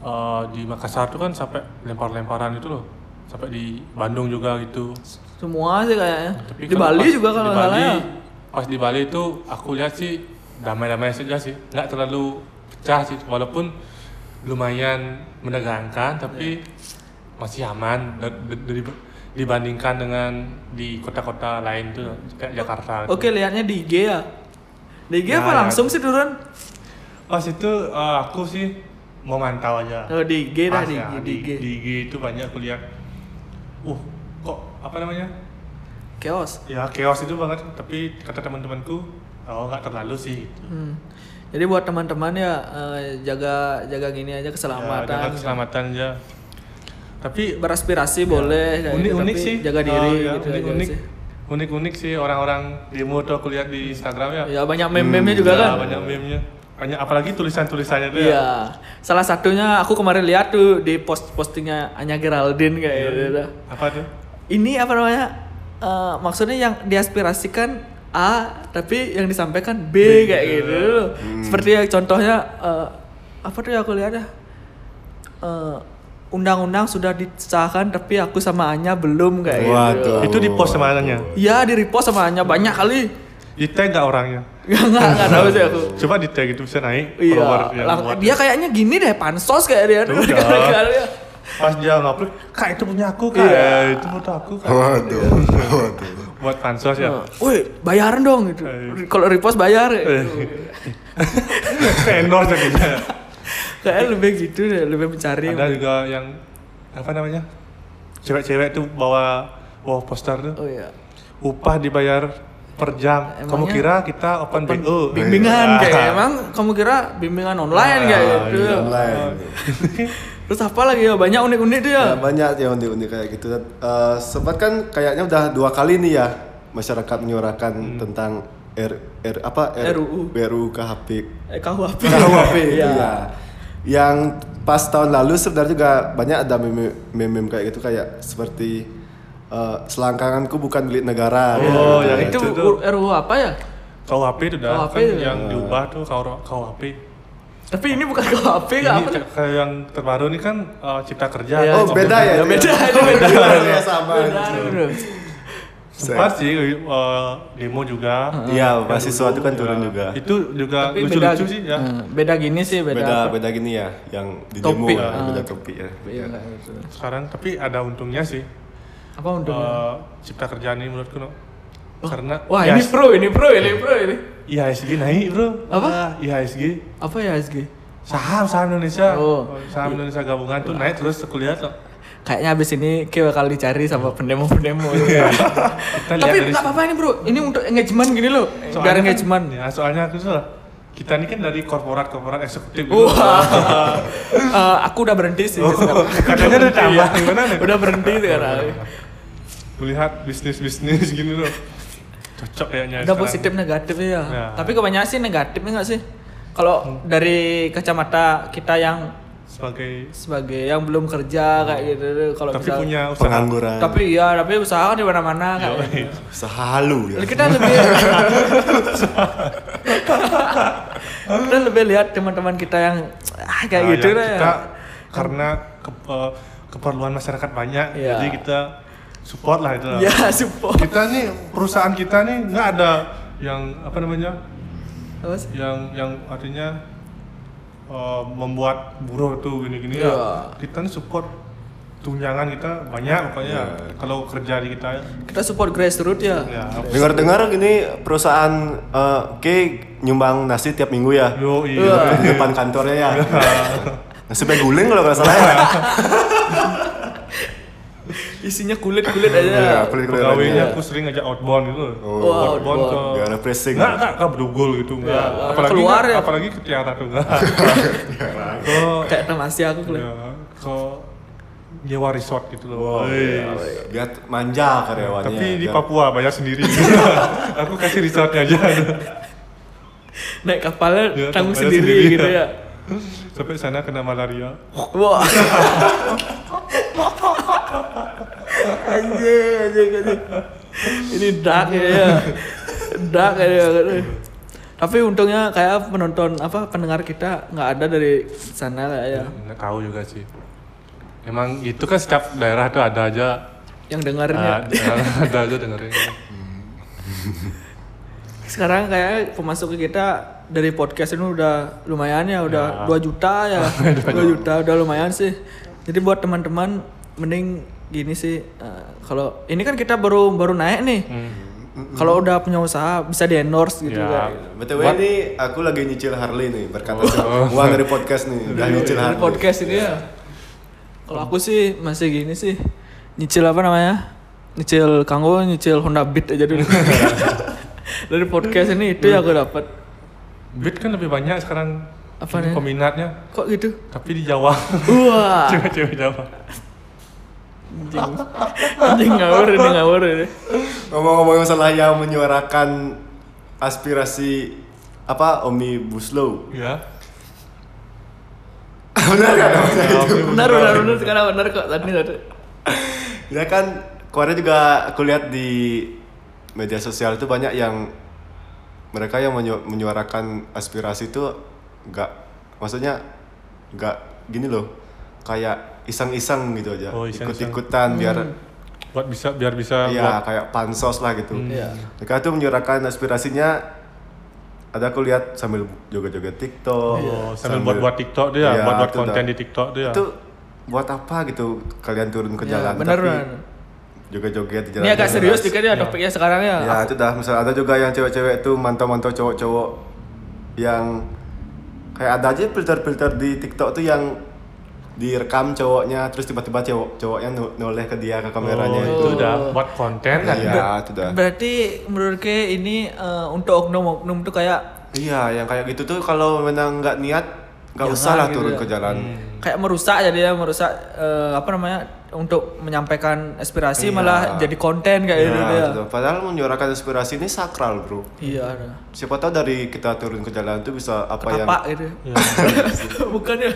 Speaker 1: Eh, di Makassar tuh kan sampai lempar-lemparan itu loh. Sampai di Bandung juga gitu.
Speaker 2: semua sih kayaknya
Speaker 1: Tapi
Speaker 2: di
Speaker 1: kalau
Speaker 2: Bali
Speaker 1: pas
Speaker 2: juga kalau
Speaker 1: di
Speaker 2: nggak salah
Speaker 1: Bali,
Speaker 2: ya.
Speaker 1: Pas di Bali itu aku lihat sih damai-damai saja sih, nggak terlalu pecah sih, walaupun lumayan menegangkan, tapi
Speaker 2: Iya.
Speaker 1: masih aman da- da- dari- dibandingkan dengan di kota-kota lain tuh kayak Jakarta. gitu.
Speaker 2: oke lihatnya di IG ya di IG apa
Speaker 1: Ya, ya.
Speaker 2: langsung sih turun
Speaker 1: Pas itu eh, aku sih mau mantau aja.
Speaker 2: oh, di IG
Speaker 1: Pas
Speaker 2: dah di,
Speaker 1: ya,
Speaker 2: IG, di
Speaker 1: di,
Speaker 2: IG
Speaker 1: di IG itu banyak aku lihat. Uh, kok apa namanya?
Speaker 2: chaos
Speaker 1: Ya chaos itu banget, tapi kata teman-temanku, oh nggak terlalu sih. gitu.
Speaker 2: Hmm. jadi buat teman-teman ya eh, jaga jaga gini
Speaker 1: Ya,
Speaker 2: aja keselamatan
Speaker 1: jaga keselamatan aja. Tapi
Speaker 2: beraspirasi boleh kayak
Speaker 1: unik
Speaker 2: gitu,
Speaker 1: unik
Speaker 2: tapi
Speaker 1: sih.
Speaker 2: jaga
Speaker 1: Oh,
Speaker 2: diri
Speaker 1: ya,
Speaker 2: gitu
Speaker 1: unik
Speaker 2: aja
Speaker 1: unik.
Speaker 2: sih.
Speaker 1: Unik unik sih orang-orang demo tuh aku lihat di Instagram ya.
Speaker 2: ya banyak meme-meme juga
Speaker 1: Ya,
Speaker 2: kan
Speaker 1: Banyak ya. meme-nya. Banyak apalagi tulisan-tulisannya tuh
Speaker 2: Iya, salah satunya aku kemarin lihat tuh di post postingnya Anya Geraldine kayak
Speaker 1: ya.
Speaker 2: gitu. dah.
Speaker 1: Apa tuh?
Speaker 2: Ini apa namanya? eh, maksudnya yang diaspirasikan A tapi yang disampaikan B kayak gitu. loh.
Speaker 1: Hmm.
Speaker 2: Seperti yang contohnya eh, apa tuh yang aku lihat ya? Eh, Undang-undang sudah disahkan tapi aku sama Anya belum kayak gitu.
Speaker 4: Waduh.
Speaker 1: Itu di post semananya.
Speaker 2: Iya, di repost sama Anya banyak kali. [laughs]
Speaker 1: Di tag nggak orangnya?
Speaker 2: Gak, gak, gak tahu sih
Speaker 1: [laughs]
Speaker 2: aku.
Speaker 1: Coba di tag itu bisa naik.
Speaker 2: Iya,
Speaker 1: follower yang
Speaker 2: lang-
Speaker 1: buat.
Speaker 2: dia kayaknya gini deh, pansos kayak dia. [laughs] ya.
Speaker 1: Udah.
Speaker 2: Gara-gara-
Speaker 1: Pas dia ngupload, kak itu punya aku kak.
Speaker 2: Iya.
Speaker 1: Ya, itu foto aku kak.
Speaker 4: Waduh, waduh.
Speaker 1: Buat pansos ya. [laughs]
Speaker 2: Woi, bayaran dong gitu.
Speaker 1: Eh.
Speaker 2: Kalau repost bayar. gitu.
Speaker 1: Eh. Endorse jadinya.
Speaker 2: Kayaknya lebih gitu deh, lebih mencari.
Speaker 1: ada juga yang apa namanya cewek-cewek tuh bawa bawa poster tuh
Speaker 2: Oh iya.
Speaker 1: upah dibayar per jam kamu
Speaker 2: Emangnya
Speaker 1: kira kita open BO Ah.
Speaker 2: Bimbingan
Speaker 1: [laughs]
Speaker 2: kayak emang kamu kira bimbingan online kayak gitu.
Speaker 3: iya,
Speaker 4: Online.
Speaker 2: Terus apa lagi ya? Banyak unik-unik tuh ya.
Speaker 4: Ya, banyak ya undi-undi kayak gitu. Eh, sempat kan kayaknya udah dua kali nih ya masyarakat menyuarakan tentang R, R apa
Speaker 2: RUU.
Speaker 4: RUU KHP
Speaker 2: Eh, KUHP.
Speaker 4: KUHP
Speaker 2: Iya.
Speaker 4: iya. Yang pas tahun lalu sebenarnya juga banyak ada meme- meme-meme kayak gitu kayak seperti eh, selangkanganku bukan milik negara. Gitu,
Speaker 1: Oh,
Speaker 4: Kayak
Speaker 1: yang
Speaker 2: iya,
Speaker 3: Iya,
Speaker 2: Itu
Speaker 1: Itu tuh.
Speaker 2: U- RUU apa ya?
Speaker 1: KUHP itu udah
Speaker 2: KUHP
Speaker 1: kan
Speaker 2: ya.
Speaker 1: yang diubah tuh KUR- KUHP
Speaker 2: Tapi ini bukan KUHP
Speaker 1: ini
Speaker 2: nggak apa?
Speaker 1: kayak- kayak yang terbaru ini kan eh, cipta kerja
Speaker 2: Iya,
Speaker 4: Oh,
Speaker 1: Open
Speaker 4: beda ya?
Speaker 1: BO.
Speaker 2: Ya, beda, itu beda.
Speaker 4: Iya, sama.
Speaker 2: Beda, beda.
Speaker 1: sempat sih eh, demo juga Iya.
Speaker 4: Iya, mahasiswa itu kan
Speaker 2: Iya.
Speaker 4: turun juga.
Speaker 1: itu juga
Speaker 2: Tapi beda
Speaker 1: lucu-lucu sih ya
Speaker 2: Eh, Beda gini sih, beda.
Speaker 4: Beda
Speaker 2: apa-
Speaker 4: beda gini ya yang di demo
Speaker 2: Topik.
Speaker 4: ya,
Speaker 2: Ah.
Speaker 4: beda topik ya.
Speaker 2: Iya, nggak gitu.
Speaker 1: sekarang tapi ada untungnya sih
Speaker 2: Apa untungnya?
Speaker 1: eh, cipta kerja ini menurutku no. karena
Speaker 2: Oh. Wah
Speaker 1: ya,
Speaker 2: ini pro, ini pro, ini pro, ini.
Speaker 1: IHSG naik bro
Speaker 2: Apa?
Speaker 1: Ah, IHSG
Speaker 2: Apa ya SG?
Speaker 1: saham saham Indonesia
Speaker 2: Oh.
Speaker 1: saham Indonesia gabungan tuh naik terus kuliah tuh
Speaker 2: Kayaknya abis ini Ki bakal dicari sama pendemo-pendemo.
Speaker 1: Iya.
Speaker 2: [laughs]
Speaker 1: kita lihat
Speaker 2: Tapi
Speaker 1: dari
Speaker 2: nggak apa-apa ini bro, ini untuk engagement gini loh.
Speaker 1: soalnya
Speaker 2: Biar
Speaker 1: kan-
Speaker 2: engagement.
Speaker 1: ya soalnya aku tuh kita ini kan dari korporat korporat eksekutif gitu.
Speaker 2: Wah, [laughs] Eh, aku udah berhenti sih. sekarang.
Speaker 1: Oh, [laughs] katanya udah tambah gimana nih
Speaker 2: Iya.
Speaker 1: Iya,
Speaker 2: udah berhenti sekarang.
Speaker 1: melihat bisnis bisnis gini loh cocok kayaknya
Speaker 2: Ada
Speaker 1: sekarang.
Speaker 2: positif negatif ya.
Speaker 1: Ya. Hmm.
Speaker 2: Tapi kebanyakan sih negatifnya nggak sih? Kalau dari kacamata kita yang
Speaker 1: sebagai
Speaker 2: sebagai yang belum kerja kayak gitu, kalau
Speaker 1: tapi
Speaker 2: misal-
Speaker 1: punya usaha
Speaker 4: Pengangguran.
Speaker 2: tapi iya, tapi usaha kan di mana-mana kayak gitu.
Speaker 4: usaha
Speaker 1: Iya.
Speaker 4: halu ya.
Speaker 2: Lalu kita
Speaker 1: [laughs]
Speaker 2: lebih kita lebih lihat teman-teman kita yang ah, kayak
Speaker 1: Nah,
Speaker 2: gitu
Speaker 1: yang
Speaker 2: lah ya.
Speaker 1: kita karena ke- eh, keperluan masyarakat banyak
Speaker 2: Iya.
Speaker 1: jadi kita support lah itu lah.
Speaker 2: ya support
Speaker 1: kita nih perusahaan kita nih nggak ada yang apa namanya
Speaker 2: Apa sih?
Speaker 1: yang yang artinya eh, membuat buruh tuh gini-gini
Speaker 2: Iya.
Speaker 1: ya kita nih support tunjangan kita banyak pokoknya
Speaker 2: Iya.
Speaker 1: kalau kerja di kita ya,
Speaker 2: kita support grassroots ya
Speaker 1: ya
Speaker 4: Dengar-dengar gini perusahaan eh, K nyumbang nasi tiap minggu ya.
Speaker 1: yo iya
Speaker 2: Iya.
Speaker 4: Di depan kantornya ya. Nasi guling kalau nggak salah ya.
Speaker 2: isinya kulit-kulit aja.
Speaker 3: Iya, kulit-kulit
Speaker 1: [laughs]
Speaker 4: ya.
Speaker 1: Pegawainya
Speaker 3: lagi.
Speaker 1: aku sering ngajak outbound gitu loh.
Speaker 3: Oh.
Speaker 2: Wah,
Speaker 1: outbound ke
Speaker 2: outbound.
Speaker 3: Gak ada pressing.
Speaker 1: Enggak, enggak, enggak berdugul gitu, enggak.
Speaker 2: Ya,
Speaker 1: apalagi
Speaker 2: keluar
Speaker 1: enggak-
Speaker 2: ya.
Speaker 1: apalagi ke Tiara tuh
Speaker 2: [laughs]
Speaker 1: enggak. Ke
Speaker 2: Kayak teman Asia aku kulit.
Speaker 1: ya, ke nyewa resort gitu loh.
Speaker 3: Wow,
Speaker 1: Wih.
Speaker 2: iya.
Speaker 3: Gat manja karyawannya.
Speaker 1: Tapi di
Speaker 3: Gat-
Speaker 1: Papua bayar
Speaker 2: [laughs]
Speaker 1: sendiri. aku kasih resortnya aja.
Speaker 2: Naik kapalnya
Speaker 1: Ya,
Speaker 2: tanggung
Speaker 1: kapalnya
Speaker 2: sendiri,
Speaker 1: sendiri,
Speaker 2: gitu
Speaker 1: ya.
Speaker 2: ya.
Speaker 1: Sampai sana kena malaria.
Speaker 2: Wah. anjing, anjing, anjing. Ini dark ya. ya. Dark ya. ya. Tapi untungnya kayak penonton apa pendengar kita nggak ada dari sana kayak ya.
Speaker 1: Nggak tahu juga sih. Emang itu kan setiap daerah tuh ada aja
Speaker 2: yang
Speaker 1: ah,
Speaker 2: ya. dengarnya.
Speaker 1: ada aja
Speaker 2: [laughs]
Speaker 1: dengerin.
Speaker 2: Sekarang kayak pemasuk kita dari podcast ini udah lumayan ya, udah 2 juta [laughs] ya. 2 juta udah lumayan sih. Jadi buat teman-teman mending gini sih eh, kalau ini kan kita baru baru naik nih. Kalau udah punya usaha bisa di endorse gitu
Speaker 1: Ya.
Speaker 2: kan.
Speaker 3: BTW
Speaker 1: What? Oh.
Speaker 3: ini aku lagi nyicil Harley nih berkata uang dari podcast
Speaker 1: [laughs]
Speaker 3: nih. Udah nyicil
Speaker 2: Dari
Speaker 3: Harley.
Speaker 2: podcast ini ya. Kalau aku sih masih gini sih. Nyicil apa namanya? Nyicil kanggo, nyicil Honda Beat aja [laughs] dulu. Dari podcast ini itu yang aku dapat.
Speaker 1: Beat kan lebih banyak sekarang
Speaker 2: Apa
Speaker 1: ini
Speaker 2: nih? Ah.
Speaker 1: peminatnya,
Speaker 2: Kok gitu?
Speaker 1: tapi di Jawa. [laughs]
Speaker 2: Wah.
Speaker 1: Cewek-cewek Jawa.
Speaker 2: Anjing ngawur ini ngawur ini.
Speaker 3: Ngomong-ngomong masalah yang menyuarakan aspirasi apa omnibus law.
Speaker 2: [laughs]
Speaker 1: Ya.
Speaker 3: Benar kan? namanya?
Speaker 1: Ya,
Speaker 2: Benar benar benar sekarang benar kok tadi tadi.
Speaker 3: Ya kan kemarin juga aku lihat di media sosial itu banyak yang mereka yang menyu- menyuarakan aspirasi itu nggak maksudnya nggak gini loh kayak iseng-iseng gitu aja
Speaker 1: Oh, iseng-iseng. Hmm.
Speaker 3: ikut-ikutan biar
Speaker 1: Buat bisa biar bisa
Speaker 3: Iya, kayak pansos lah gitu.
Speaker 1: Hmm.
Speaker 2: Iya.
Speaker 3: Mereka tuh menyuarakan aspirasinya ada aku lihat sambil joget-joget TikTok,
Speaker 2: Iya.
Speaker 1: buat, Oh, sambil buat-buat TikTok dia,
Speaker 3: Iya,
Speaker 1: buat-buat
Speaker 3: itu
Speaker 1: konten
Speaker 3: dah.
Speaker 1: di TikTok dia.
Speaker 3: Itu buat apa gitu kalian turun ke
Speaker 2: Ya,
Speaker 3: jalan
Speaker 2: benar
Speaker 3: tapi
Speaker 2: benar.
Speaker 3: joget-joget di jalan.
Speaker 2: Ini agak
Speaker 3: jalan.
Speaker 2: serius dikit ya topiknya sekarang ya.
Speaker 3: Ya, itu dah misal ada juga yang cewek-cewek tuh mantau-mantau cowok-cowok yang kayak ada aja filter-filter di TikTok tuh yang direkam cowoknya terus tiba-tiba cowok cowoknya nu- noleh ke dia ke kameranya
Speaker 1: oh, itu udah buat konten kan.
Speaker 3: Iya, itu dah.
Speaker 2: Berarti menurut ke ini eh, untuk oknum-oknum tuh kayak
Speaker 3: Iya, yang kayak gitu tuh kalau memang nggak niat nggak
Speaker 2: Jangan
Speaker 3: usah lah
Speaker 2: gitu
Speaker 3: turun
Speaker 2: ya.
Speaker 3: ke jalan.
Speaker 2: kayak merusak jadi ya merusak eh, apa namanya untuk menyampaikan aspirasi
Speaker 3: Iya.
Speaker 2: malah jadi konten kayak gitu
Speaker 3: Iya,
Speaker 2: dia.
Speaker 3: betul. Padahal menyuarakan inspirasi ini sakral, bro.
Speaker 2: Iya.
Speaker 3: Siapa tahu dari kita turun ke jalan tuh bisa apa yang Iya,
Speaker 2: Tapak gitu. [laughs] Bukan ya.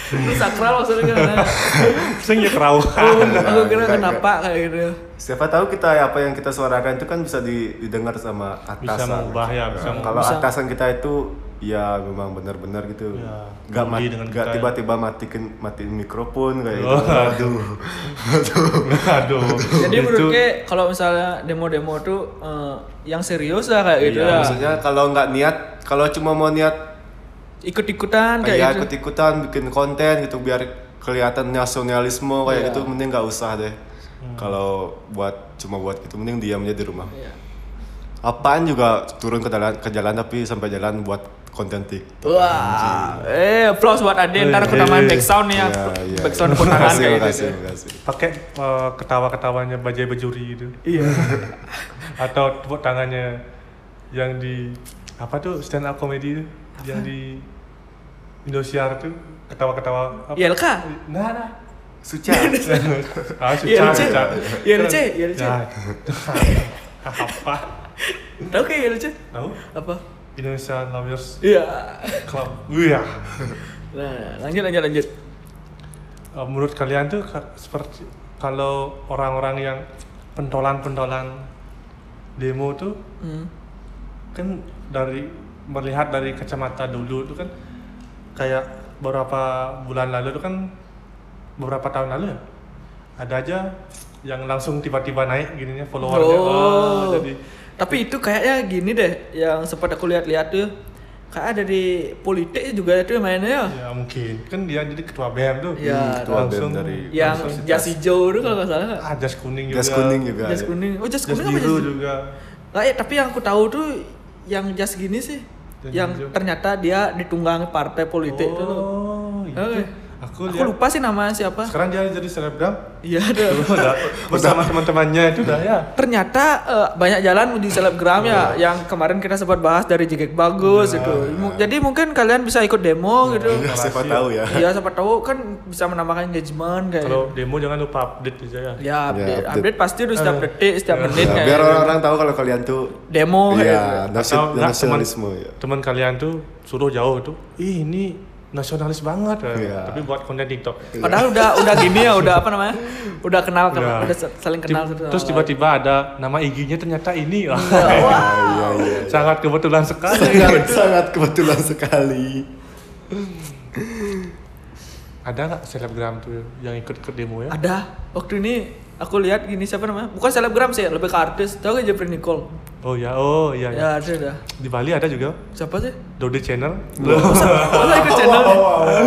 Speaker 2: Itu sakral maksudnya kan.
Speaker 1: [laughs]
Speaker 3: [laughs]
Speaker 1: Sing ya kerawuhan.
Speaker 2: Aku kira
Speaker 3: enggak,
Speaker 2: kenapa kayak gitu.
Speaker 3: siapa tahu kita ya, apa yang kita suarakan itu kan bisa di- didengar sama atasan.
Speaker 1: Bisa mengubah ya, bisa
Speaker 3: Nah,
Speaker 1: mengubah.
Speaker 3: Kalau atasan kita itu ya memang benar-benar gitu.
Speaker 1: Ya,
Speaker 3: Nggak
Speaker 1: peduli
Speaker 3: mat-
Speaker 1: dengan
Speaker 3: nggak
Speaker 1: kita ya.
Speaker 3: tiba-tiba matikan matiin mikrofon kayak
Speaker 1: Oh,
Speaker 3: gitu.
Speaker 1: [laughs]
Speaker 3: Aduh.
Speaker 1: Aduh. Gitu.
Speaker 2: Jadi
Speaker 1: Itu-
Speaker 2: menurut gue kalau misalnya demo-demo tuh eh, yang serius lah kayak gitu
Speaker 3: Iya,
Speaker 2: ya.
Speaker 3: maksudnya kalau nggak niat, kalau cuma mau niat
Speaker 2: Ikut-ikutan kayak
Speaker 3: kayak
Speaker 2: gitu.
Speaker 3: ikut-ikutan bikin konten gitu biar kelihatan nasionalisme kayak
Speaker 2: Iya. Hmm.
Speaker 3: gitu mending nggak usah deh kalau buat cuma buat gitu mending diam aja di rumah
Speaker 2: Iya.
Speaker 3: apaan juga turun ke jalan ke jalan tapi sampai jalan buat konten TikTok
Speaker 2: Wah, eh applause buat Ade ntar aku
Speaker 1: Eh,
Speaker 2: tambahin
Speaker 1: eh,
Speaker 2: back sound nih ya.
Speaker 3: iya.
Speaker 2: Back sound pun
Speaker 3: Terima
Speaker 2: tangan
Speaker 3: kasih,
Speaker 2: kayak
Speaker 3: terima
Speaker 2: gitu.
Speaker 3: kasih, terima kasih.
Speaker 1: pakai eh, ketawa-ketawanya bajai bajuri itu
Speaker 2: Iya.
Speaker 1: [laughs] atau tepuk tangannya yang di apa tuh stand up comedy itu yang di Indosiar tuh ketawa-ketawa apa?
Speaker 2: ILK?
Speaker 1: Nah, nah.
Speaker 3: Suca
Speaker 1: Ah, suca,
Speaker 2: ILC.
Speaker 1: suca.
Speaker 2: ILC, ILC.
Speaker 1: Ya. [laughs] Apa?
Speaker 2: [laughs] Tahu kayak ILC?
Speaker 1: Tahu?
Speaker 2: Apa?
Speaker 1: Indonesia Lawyers
Speaker 2: Iya.
Speaker 1: Club. Iya.
Speaker 2: Nah, lanjut lanjut lanjut.
Speaker 1: Eh, menurut kalian tuh ka- seperti kalau orang-orang yang pentolan-pentolan demo tuh
Speaker 2: Hmm.
Speaker 1: kan dari melihat dari kacamata dulu itu kan kayak beberapa bulan lalu itu kan beberapa tahun lalu ya ada aja yang langsung tiba-tiba naik gininya followernya Wah,
Speaker 2: Oh.
Speaker 1: ah, jadi
Speaker 2: Tapi itu kayaknya gini deh, yang sempat aku lihat-lihat tuh kayak ada di politik juga itu mainnya ya.
Speaker 1: ya mungkin kan dia jadi ketua BM tuh
Speaker 2: Iya,
Speaker 1: Hmm,
Speaker 3: ketua BEM dari
Speaker 1: Iya,
Speaker 2: Yang jas hijau tuh kalau nggak salah.
Speaker 1: ah jas kuning juga
Speaker 3: gas kuning juga
Speaker 2: Jas
Speaker 3: ya.
Speaker 2: kuning. Oh, jas
Speaker 1: jas
Speaker 2: kuning apa jas
Speaker 1: biru
Speaker 2: hijau?
Speaker 1: juga
Speaker 2: Nah, ya, tapi yang aku tahu tuh yang jas gini sih.
Speaker 1: Jas
Speaker 2: yang
Speaker 1: hijau.
Speaker 2: ternyata dia ditunggangi partai politik tuh.
Speaker 1: oh itu
Speaker 2: Oke.
Speaker 1: Aku
Speaker 2: Aku
Speaker 1: lihat
Speaker 2: lupa sih nama siapa.
Speaker 1: sekarang dia jadi selebgram
Speaker 2: Iya ada.
Speaker 1: [laughs] udah bersama teman-temannya itu udah ya.
Speaker 2: Ternyata eh, banyak jalan menuju selebgram
Speaker 1: Iya.
Speaker 2: ya, yang kemarin kita sempat bahas dari Jegek Bagus itu. Mu- Jadi mungkin kalian bisa ikut
Speaker 1: Iya.
Speaker 2: demo gitu.
Speaker 3: Ya, siapa
Speaker 1: Rahasia.
Speaker 3: tahu ya.
Speaker 2: Iya, siapa tahu kan bisa menambahkan engagement kayak. gitu.
Speaker 1: Kalau demo jangan lupa update Eh. Iya. aja ya.
Speaker 2: Ya, update,
Speaker 4: update.
Speaker 2: update pasti udah setiap detik, setiap menit
Speaker 3: Ya,
Speaker 2: kayak
Speaker 3: biar
Speaker 2: gitu.
Speaker 3: orang-orang tahu kalau kalian tuh
Speaker 2: demo kayak gitu.
Speaker 4: Iya,
Speaker 1: Atau
Speaker 4: nasional-
Speaker 1: enggak, teman-
Speaker 4: nasionalisme
Speaker 3: iya.
Speaker 4: ya.
Speaker 1: Teman kalian tuh suruh jauh tuh. Ih, ini nasionalis banget. ya.
Speaker 4: Iya.
Speaker 1: Tapi buat konten TikTok.
Speaker 2: Iya. Padahal udah udah gini ya, udah apa namanya? Udah kenal kan,
Speaker 1: Udah.
Speaker 2: udah se- saling kenal
Speaker 1: Tip-
Speaker 2: satu sama
Speaker 1: Terus
Speaker 2: lain.
Speaker 1: tiba-tiba ada nama IG-nya ternyata ini. Wah,
Speaker 4: Iya, iya.
Speaker 1: [laughs] sangat kebetulan sekali.
Speaker 3: Iya.
Speaker 4: Sangat, sangat kebetulan sekali.
Speaker 1: ada nggak selebgram tuh yang ikut ikut demo ya?
Speaker 2: ada waktu ini aku lihat gini siapa namanya? Bukan selebgram sih, lebih ke artis. Tahu gak Jeffrey Nicole?
Speaker 1: Oh ya, oh iya. Ya.
Speaker 2: Ya, ada dah.
Speaker 1: Di Bali ada juga
Speaker 2: Siapa
Speaker 1: [laughs]
Speaker 2: sih?
Speaker 1: Dodi Channel.
Speaker 2: Masa ikut channel?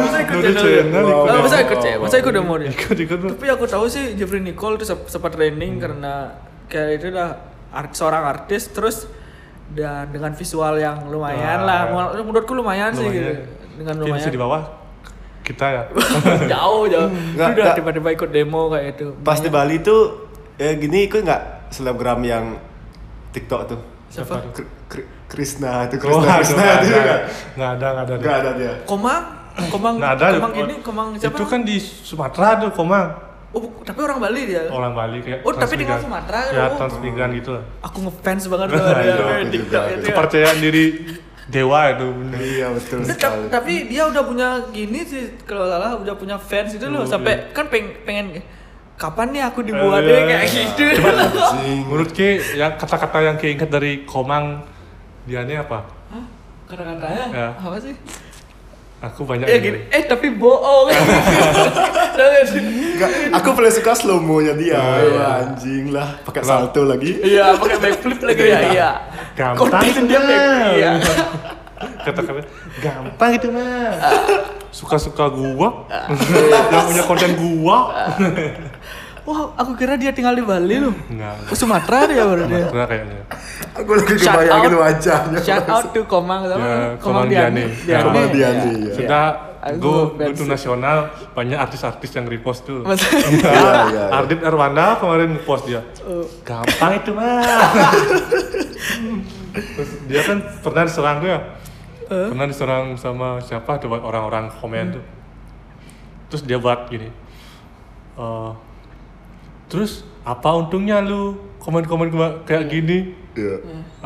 Speaker 2: Masa ikut
Speaker 1: Dodi
Speaker 2: channel?
Speaker 1: Channel ikut
Speaker 2: Ah, Masa
Speaker 1: demo.
Speaker 2: ikut channel? Masa ikut demo dia?
Speaker 1: ikut Hmm. ikut.
Speaker 2: Tapi aku tahu sih Jeffrey Nicole itu sep- sempat training karena kayak itu dah art, seorang artis terus dan dengan visual yang lumayan lah.
Speaker 1: Wah.
Speaker 2: Menur- Menurutku lumayan, sih gitu.
Speaker 1: Lumayan.
Speaker 2: Dengan
Speaker 1: Tapi
Speaker 2: lumayan.
Speaker 1: Iya, di bawah kita
Speaker 2: [laughs]
Speaker 1: ya.
Speaker 2: jauh jauh.
Speaker 1: Hmm,
Speaker 3: Nggak,
Speaker 2: Itu udah
Speaker 3: nggak.
Speaker 2: tiba-tiba ikut demo kayak itu.
Speaker 3: pas di Bali tuh ya gini ikut nggak selebgram yang TikTok tuh.
Speaker 2: Siapa?
Speaker 3: Kr- Kr- Krishna
Speaker 1: Wah,
Speaker 3: itu Krishna, Krishna
Speaker 1: nggak
Speaker 3: itu
Speaker 1: ada,
Speaker 3: nggak
Speaker 1: nggak ada, nggak ada.
Speaker 3: nggak ada dia.
Speaker 2: Komang, Komang,
Speaker 1: Nggak ada.
Speaker 2: Komang ini, Komang siapa?
Speaker 1: Itu kan di Sumatera tuh Komang.
Speaker 2: Oh, bu- tapi orang Bali dia.
Speaker 1: Orang Bali kayak
Speaker 2: Oh, tapi dengan
Speaker 1: transmigran.
Speaker 2: Sumatera kan,
Speaker 1: Ya,
Speaker 2: oh.
Speaker 1: transmigran gitu lah.
Speaker 2: Aku ngefans banget sama
Speaker 1: Iya,
Speaker 2: dia. kayak
Speaker 3: aku
Speaker 2: TikTok
Speaker 3: juga.
Speaker 2: itu ya.
Speaker 1: Kepercayaan diri dewa itu.
Speaker 3: Iya betul
Speaker 2: Tapi-
Speaker 3: sekali.
Speaker 2: tapi dia udah punya gini sih kalau nggak salah udah punya fans itu
Speaker 1: Oh,
Speaker 2: loh sampai kan peng- pengen kapan nih aku dibuatnya
Speaker 1: Iya.
Speaker 2: kayak gitu. [laughs]
Speaker 3: Anjing.
Speaker 1: Menurut Ki, yang kata-kata yang Ki ingat dari Komang dianya apa?
Speaker 2: Hah? Kata-katanya
Speaker 1: Ya.
Speaker 2: apa sih?
Speaker 1: Aku banyak
Speaker 2: Ya
Speaker 1: ini.
Speaker 2: gini, eh tapi
Speaker 1: [laughs]
Speaker 2: bohong. [laughs] Tahu nggak sih?
Speaker 3: Nggak, aku paling suka slow mo-nya dia.
Speaker 2: Oh,
Speaker 3: Wah, anjing lah, pakai salto lagi.
Speaker 2: Iya, pakai backflip lagi ya. Iya.
Speaker 1: Gampang
Speaker 2: Konten
Speaker 1: itu
Speaker 2: dia
Speaker 1: mah.
Speaker 2: back- Iya.
Speaker 1: Kata-kata gampang itu mah. Suka-suka
Speaker 2: [laughs]
Speaker 1: gua. yang punya konten gua.
Speaker 2: Wah, aku kira dia tinggal di Bali loh.
Speaker 1: Enggak.
Speaker 2: Oh, Sumatera dia baru dia.
Speaker 1: Sumatera kayaknya.
Speaker 4: Aku lagi
Speaker 2: Shout
Speaker 4: kebayangin
Speaker 2: out.
Speaker 4: wajahnya.
Speaker 2: Shout out to Komang sama
Speaker 1: Ya, Komang Diani.
Speaker 2: Diani.
Speaker 1: Komang
Speaker 3: Diani,
Speaker 2: Iya.
Speaker 3: ya.
Speaker 1: Sudah
Speaker 2: Aku
Speaker 1: go, go to
Speaker 2: fans.
Speaker 1: nasional banyak artis-artis yang repost tuh. [laughs]
Speaker 2: Mas-
Speaker 3: Iya, iya. Oh.
Speaker 1: Ardit Erwanda kemarin post dia. Gampang itu
Speaker 3: [laughs]
Speaker 1: mah. Terus dia kan pernah diserang tuh ya. Pernah diserang sama siapa tuh buat orang-orang komen
Speaker 3: Hmm.
Speaker 1: tuh. Terus dia buat gini. Eh, terus apa untungnya lu komen-komen kema- kayak gini?
Speaker 3: [laughs] Iya.
Speaker 2: Hmm.
Speaker 1: Eh, eh,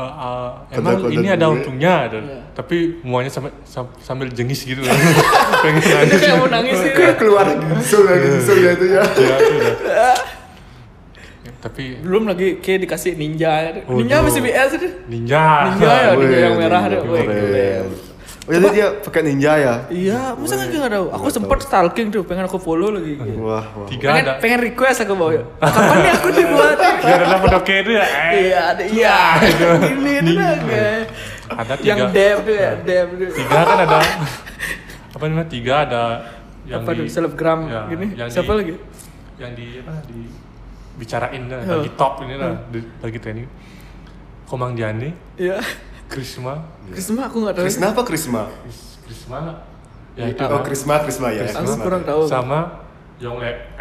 Speaker 1: emang
Speaker 3: Konten-konten
Speaker 1: ini ada
Speaker 3: gue.
Speaker 1: untungnya,
Speaker 2: Iya.
Speaker 1: ada. tapi muanya sampai sam- sambil jengis
Speaker 2: [laughs]
Speaker 1: gitu loh. pengen nangis.
Speaker 2: Dia kayak mau nangis gitu.
Speaker 3: Keluar ginsul lagi
Speaker 2: Iya.
Speaker 3: ginsul ya itu ya.
Speaker 1: Ya, itu udah. tapi
Speaker 2: Belum lagi kayak dikasih ninja. Ninja
Speaker 1: Waduh.
Speaker 2: masih BS itu.
Speaker 1: ninja.
Speaker 2: Ninja ya,
Speaker 3: Wih,
Speaker 2: ninja yang merah
Speaker 3: ninja
Speaker 2: ada. Wih,
Speaker 3: keren.
Speaker 2: keren.
Speaker 3: Oh, jadi dia pakai ninja ya?
Speaker 2: Iya, masa kan gak tahu. Aku sempet stalking tuh, pengen aku follow lagi.
Speaker 3: Wah, wah.
Speaker 1: tiga
Speaker 2: Pengen,
Speaker 1: ada. Iya,
Speaker 2: pengen request aku bawa. Kapan nih aku
Speaker 1: [laughs]
Speaker 2: dibuat?
Speaker 1: Dia adalah pendoke itu ya. eh.
Speaker 2: Iya, ada iya. Ini itu lah kayak.
Speaker 1: Ada tiga.
Speaker 2: Yang dab tuh ya, dab tuh.
Speaker 1: tiga kan ada. apa namanya? Tiga ada yang
Speaker 2: Apa
Speaker 1: di
Speaker 2: tuh, selebgram
Speaker 1: ya,
Speaker 2: gini?
Speaker 1: yang
Speaker 2: Siapa
Speaker 1: di-
Speaker 2: lagi?
Speaker 1: Yang di apa? Di bicarain lah, lagi top ini lah, di- lagi training. Komang Diani,
Speaker 2: Iya.
Speaker 1: Krisma,
Speaker 2: Krisma aku gak tahu.
Speaker 3: Krisna apa Krisma?
Speaker 1: Kris- Krisma ya
Speaker 2: Iya,
Speaker 1: itu
Speaker 3: Oh,
Speaker 1: lah.
Speaker 3: Krisma, Krisma ya.
Speaker 2: Aku
Speaker 3: Krisma.
Speaker 2: kurang tahu.
Speaker 1: sama Yonglek.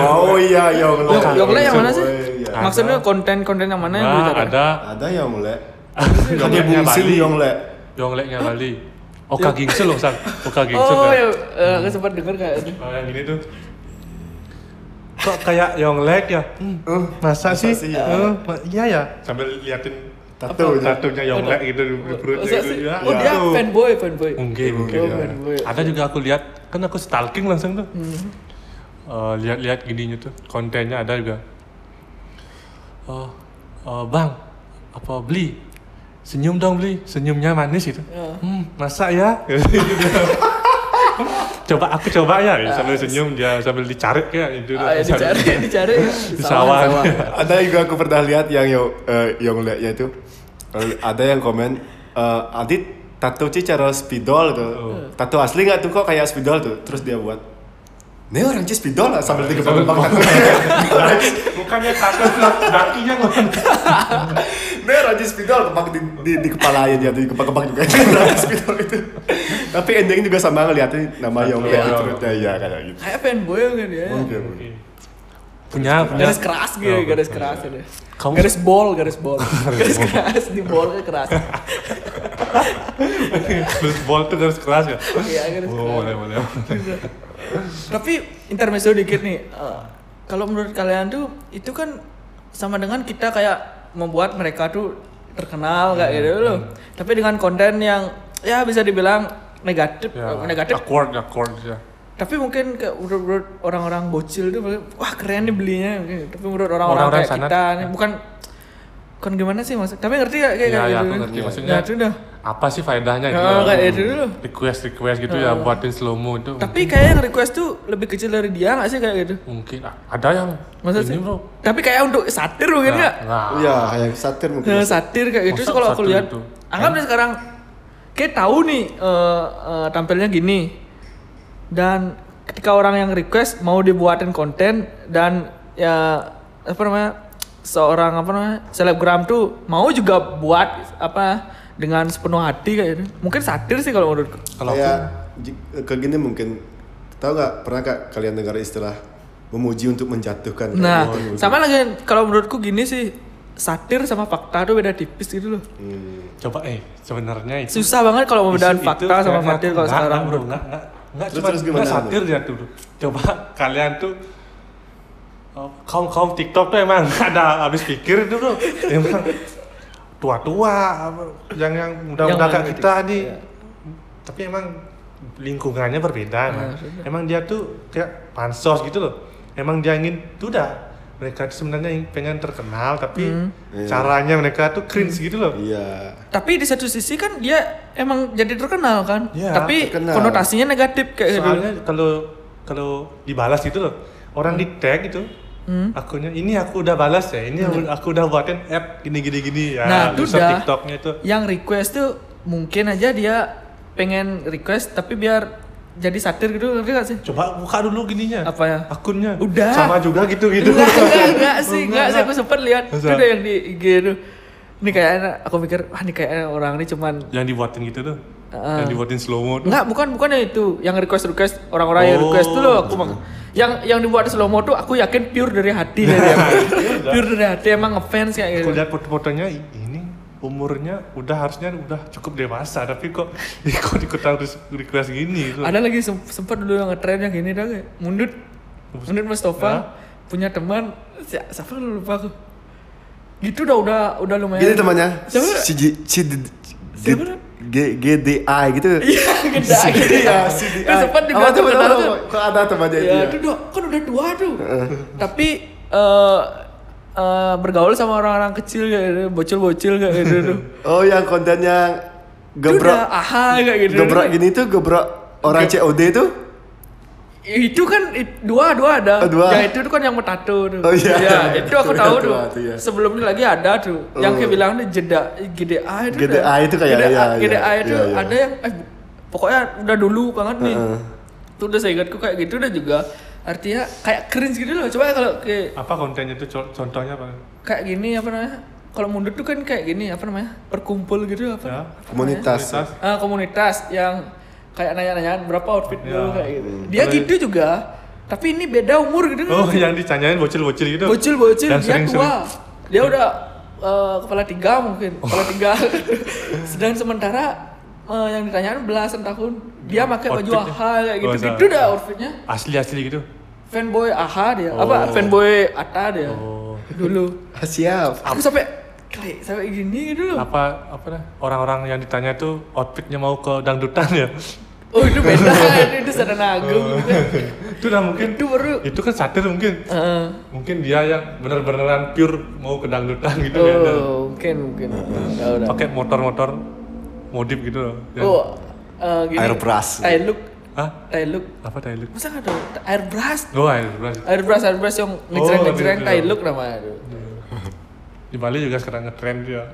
Speaker 3: Oh iya, yang
Speaker 2: Yong- Yongle yang mana sih?
Speaker 3: Iya.
Speaker 1: kan? Ada.
Speaker 2: Maksudnya konten-konten yang mana yang
Speaker 1: Nah,
Speaker 2: dibicarakan?
Speaker 1: ada
Speaker 3: Ada yang mulai. Hanya
Speaker 1: Yongleknya
Speaker 3: bungsil
Speaker 1: Bali.
Speaker 3: Yongle.
Speaker 1: Yongleknya Bali. Oka Gingsul loh, Sang.
Speaker 2: [laughs]
Speaker 1: Oka Gingsul.
Speaker 2: Oh,
Speaker 1: kan?
Speaker 2: ya, eh, aku sempat dengar kayak itu.
Speaker 1: Oh, yang gini tuh. Kok kayak Yonglek ya? Hmm, masa, sih?
Speaker 3: sih
Speaker 1: ya?
Speaker 3: ya?
Speaker 1: iya ya. Oh, iya. Sambil liatin
Speaker 3: Tato. ya.
Speaker 1: tatunya Yonglek gitu di di perutnya
Speaker 2: Masa
Speaker 1: gitu.
Speaker 2: sih?
Speaker 1: Ya,
Speaker 2: Oh, dia
Speaker 1: aduh.
Speaker 2: fanboy, fanboy.
Speaker 1: Mungkin, mungkin.
Speaker 2: Oh,
Speaker 1: ya.
Speaker 2: fanboy.
Speaker 1: Ada juga aku lihat, kan aku stalking langsung tuh.
Speaker 2: Hmm.
Speaker 1: Eh, lihat-lihat gininya tuh, kontennya ada juga. Oh, eh, bang, apa beli? Senyum dong beli, senyumnya manis gitu.
Speaker 2: Iya.
Speaker 1: Hmm, masa ya? [laughs] coba aku coba ya, sambil senyum dia sambil dicari kayak itu.
Speaker 2: Ah, ya, dicari, dicari.
Speaker 1: [laughs] Di sawah.
Speaker 3: Ada juga aku pernah lihat yang yo- eh, Yongle ya itu. Eh, Ada yang komen eh, Adit tato sih cara spidol tuh. Tato asli nggak tuh kok kayak spidol tuh. Terus dia buat Nih orang Cispidol lah sambil tiga puluh [laughs]
Speaker 1: Bukannya kakak dakinya
Speaker 2: [laughs]
Speaker 1: ngelan.
Speaker 3: Nih orang Cispidol kepak di, di, di kepala aja jadi kepak-kepak juga [laughs] orang Cispidol itu. Tapi ending juga sama ngeliatin nama Yongke
Speaker 1: Iya.
Speaker 3: di perutnya ya kayak gitu.
Speaker 1: [laughs]
Speaker 2: Kayak fanboy kan dia.
Speaker 3: Oke,
Speaker 4: Iya,
Speaker 3: oke.
Speaker 1: Punya, punya.
Speaker 2: Garis
Speaker 1: [laughs]
Speaker 2: keras gitu,
Speaker 1: Oh,
Speaker 2: garis keras ada.
Speaker 1: Kamu-
Speaker 2: Garis bol, garis
Speaker 1: [laughs]
Speaker 2: bol. garis keras di bol ke keras.
Speaker 1: Terus bol tuh garis keras ya?
Speaker 2: Iya, garis keras.
Speaker 1: Oh, boleh, boleh.
Speaker 2: Tapi intermezzo dikit nih. Eh, kalau menurut kalian tuh itu kan sama dengan kita kayak membuat mereka tuh terkenal kayak
Speaker 1: Hmm,
Speaker 2: gitu loh. Tapi dengan konten yang ya bisa dibilang negatif,
Speaker 1: Ya,
Speaker 2: eh, negatif.
Speaker 1: Awkward, awkward ya.
Speaker 2: Tapi mungkin ke menurut menurut orang-orang bocil tuh wah keren nih belinya. Tapi menurut orang-orang
Speaker 1: Orang-orang
Speaker 2: kayak
Speaker 1: sana.
Speaker 2: kita nih bukan kan gimana sih maksud? Tapi ngerti gak kayak
Speaker 1: Iya, iya,
Speaker 2: kayak gitu?
Speaker 1: aku
Speaker 2: kan?
Speaker 1: ngerti.
Speaker 2: Ya,
Speaker 1: Maksudnya,
Speaker 2: itu dah.
Speaker 1: Apa sih faedahnya itu?
Speaker 2: Ya, kayak itu dulu. Oh.
Speaker 1: Request, request gitu ya, buatin slow mo itu.
Speaker 2: Tapi kayak yang request tuh lebih kecil dari dia gak sih kayak gitu?
Speaker 1: mungkin ah, ada yang
Speaker 2: Maksud
Speaker 1: ini
Speaker 2: sih?
Speaker 1: bro.
Speaker 2: Tapi kayak untuk satir mungkin
Speaker 1: Nah,
Speaker 2: nggak?
Speaker 1: nah.
Speaker 4: Iya, kayak satir mungkin.
Speaker 2: Nah, satir kayak gitu
Speaker 1: Masa
Speaker 2: Terus kalau aku
Speaker 1: satir
Speaker 2: lihat
Speaker 1: itu? Eh?
Speaker 2: anggap deh sekarang kayak tahu nih eh, eh, tampilnya gini dan ketika orang yang request mau dibuatin konten dan ya apa namanya seorang apa namanya selebgram tuh mau juga buat apa dengan sepenuh hati kayak gitu mungkin satir sih kalau menurutku
Speaker 1: Kalau aku,
Speaker 4: kayak
Speaker 3: Iya.
Speaker 4: j- kayak gini mungkin tahu nggak pernah nggak kalian dengar istilah memuji untuk menjatuhkan Kayak
Speaker 1: Oh,
Speaker 2: nah
Speaker 4: gitu.
Speaker 1: iya,
Speaker 2: sama lagi kalau menurutku gini sih satir sama fakta tuh beda tipis gitu loh
Speaker 1: coba eh sebenarnya itu
Speaker 2: susah banget kalau membedakan
Speaker 1: isu
Speaker 2: fakta
Speaker 1: itu
Speaker 2: sama
Speaker 1: kayaknya
Speaker 2: satir kalau
Speaker 1: enggak,
Speaker 2: sekarang
Speaker 1: enggak, bro enggak enggak enggak
Speaker 4: Terus-
Speaker 1: cuma
Speaker 4: terus
Speaker 1: enggak
Speaker 4: gimana,
Speaker 1: satir dia tuh bro. coba kalian tuh kaum kaum TikTok tuh emang [laughs] nggak ada habis pikir itu bro emang tua-tua yang yang muda-muda kayak
Speaker 2: Yang Iya. mana
Speaker 1: kita nih tapi emang lingkungannya berbeda
Speaker 2: Iya,
Speaker 1: emang. emang dia tuh kayak pansos gitu loh emang dia ingin tuh dah mereka tuh sebenarnya ingin- pengen terkenal tapi
Speaker 2: Hmm.
Speaker 1: caranya mereka tuh cringe gitu loh
Speaker 4: iya
Speaker 2: tapi di satu sisi kan dia emang jadi terkenal kan
Speaker 1: Iya,
Speaker 2: tapi
Speaker 4: terkenal.
Speaker 2: konotasinya negatif kayak gitu
Speaker 1: soalnya kalau kalau dibalas gitu loh orang
Speaker 2: Hmm.
Speaker 1: di tag gitu akunya ini aku udah balas ya ini aku udah buatin app gini gini gini ya
Speaker 2: Hmm. Nah, itu
Speaker 1: user
Speaker 2: dah.
Speaker 1: tiktoknya itu
Speaker 2: yang request tuh mungkin aja dia pengen request tapi biar jadi satir gitu ngerti gak sih
Speaker 1: coba buka dulu gininya
Speaker 2: Apa ya?
Speaker 1: akunnya
Speaker 2: Udah.
Speaker 1: sama juga gitu gitu
Speaker 2: enggak enggak enggak sih enggak sih aku sempet lihat itu
Speaker 1: Masa?
Speaker 2: ada yang di IG tuh ini kayaknya aku mikir wah ini kayaknya orang ini cuman
Speaker 1: [laughs] yang dibuatin gitu tuh
Speaker 2: Ah.
Speaker 1: yang dibuatin slow mo tuh.
Speaker 2: enggak bukan bukan yang itu yang request request orang-orang yang request tuh loh aku mak yang yang dibuat slow mo tuh aku yakin pure dari hati dia
Speaker 1: [laughs]
Speaker 2: pure dari hati emang ngefans kayak gitu
Speaker 1: aku lihat foto-fotonya i- ini umurnya udah harusnya udah cukup dewasa tapi kok [laughs] ikut ikutan request gini gitu
Speaker 2: Ada lagi sem- sempat dulu yang ngetrend yang gini dah kayak mundut. Mundut Mustafa punya teman si- siapa dulu lupa aku. Gitu dah udah udah lumayan.
Speaker 4: gini temannya
Speaker 2: Siapa?
Speaker 4: si G- si D- G-
Speaker 2: Siapa?
Speaker 4: G- GDI gitu
Speaker 2: Iya, gede
Speaker 4: iya
Speaker 2: aja.
Speaker 4: si DI
Speaker 2: Terus sempat
Speaker 4: Apa Iya,
Speaker 2: juga tuh
Speaker 4: teman
Speaker 2: kenal
Speaker 4: tahu?
Speaker 2: tuh.
Speaker 4: kok ada temannya
Speaker 2: Ya,
Speaker 4: dia
Speaker 2: itu udah kan udah tua tuh. Tapi eh eh, bergaul sama orang-orang kecil kayak gitu, bocil-bocil kayak gitu tuh.
Speaker 4: oh yang kontennya
Speaker 2: Itu udah
Speaker 4: gebrak
Speaker 2: aha kayak gitu.
Speaker 4: gebrak gini tuh gebrak orang COD tuh
Speaker 2: itu kan it- dua dua ada
Speaker 4: Oh, dua.
Speaker 2: yang itu tuh kan yang metato tuh
Speaker 4: Oh, iya.
Speaker 2: Ya, itu
Speaker 4: [laughs]
Speaker 2: aku tahu
Speaker 4: Dua, tuh,
Speaker 2: tuh
Speaker 4: iya.
Speaker 2: sebelumnya lagi ada tuh yang kayak bilang tuh jeda GDA itu
Speaker 4: GDA
Speaker 2: kan.
Speaker 4: itu kayak- iya,
Speaker 2: GDA,
Speaker 4: iya,
Speaker 2: GDA itu
Speaker 4: iya, iya.
Speaker 2: ada yang eh, pokoknya udah dulu banget nih itu udah saya ingatku kayak gitu udah juga artinya kayak cringe gitu loh coba kalau kayak
Speaker 1: apa kontennya tuh co- contohnya apa
Speaker 2: kayak gini apa namanya kalau mundur tuh kan kayak gini apa namanya perkumpul gitu apa
Speaker 1: Ya.
Speaker 2: apa namanya?
Speaker 4: komunitas
Speaker 1: Komunitas.
Speaker 2: Ah, komunitas yang kayak nanya-nanya berapa outfit lu
Speaker 1: Ya.
Speaker 2: kayak gitu. Dia gitu juga, tapi ini beda umur gitu.
Speaker 1: oh yang ditanyain bocil-bocil gitu
Speaker 2: Bocil-bocil
Speaker 1: Yang
Speaker 2: dia
Speaker 1: sering-sering.
Speaker 2: tua. Dia udah eh, kepala tiga mungkin,
Speaker 1: Oh.
Speaker 2: kepala tiga. [laughs] Sedang sementara eh, yang ditanyain belasan tahun, dia pakai baju
Speaker 1: Iya. Outfitnya.
Speaker 2: AHA kayak gitu.
Speaker 1: Oh, iya.
Speaker 2: Gitu dah outfitnya.
Speaker 1: asli-asli gitu
Speaker 2: Fanboy AHA dia. Apa
Speaker 1: Oh.
Speaker 2: fanboy ATA dia. Dulu.
Speaker 4: Ah, siap
Speaker 2: Aku sampai klik sampai gini gitu loh.
Speaker 1: apa apa dah orang-orang yang ditanya tuh outfitnya mau ke dangdutan ya [laughs]
Speaker 2: Oh itu beda, itu, itu Sarana Agung.
Speaker 1: Oh.
Speaker 2: gitu.
Speaker 1: itu udah mungkin
Speaker 2: Itu baru
Speaker 1: itu kan satir mungkin
Speaker 2: eh,
Speaker 1: mungkin dia yang bener-beneran pure mau ke dangdutan gitu ya Dan
Speaker 2: Oh, mungkin mungkin. Tahu dah.
Speaker 1: pakai motor-motor modif gitu loh Dan-
Speaker 2: Oh, eh, gini.
Speaker 4: Airbrush.
Speaker 2: Airlook,
Speaker 1: Hah?
Speaker 2: Airlook.
Speaker 1: apa Thailand
Speaker 2: Masa nggak tahu? Airbrush.
Speaker 1: oh airbrush
Speaker 2: Airbrush, airbrush yang ngejreng ngejreng
Speaker 1: iya, iya.
Speaker 2: Airlook namanya itu. Iya.
Speaker 1: di Bali juga sekarang ngetrend dia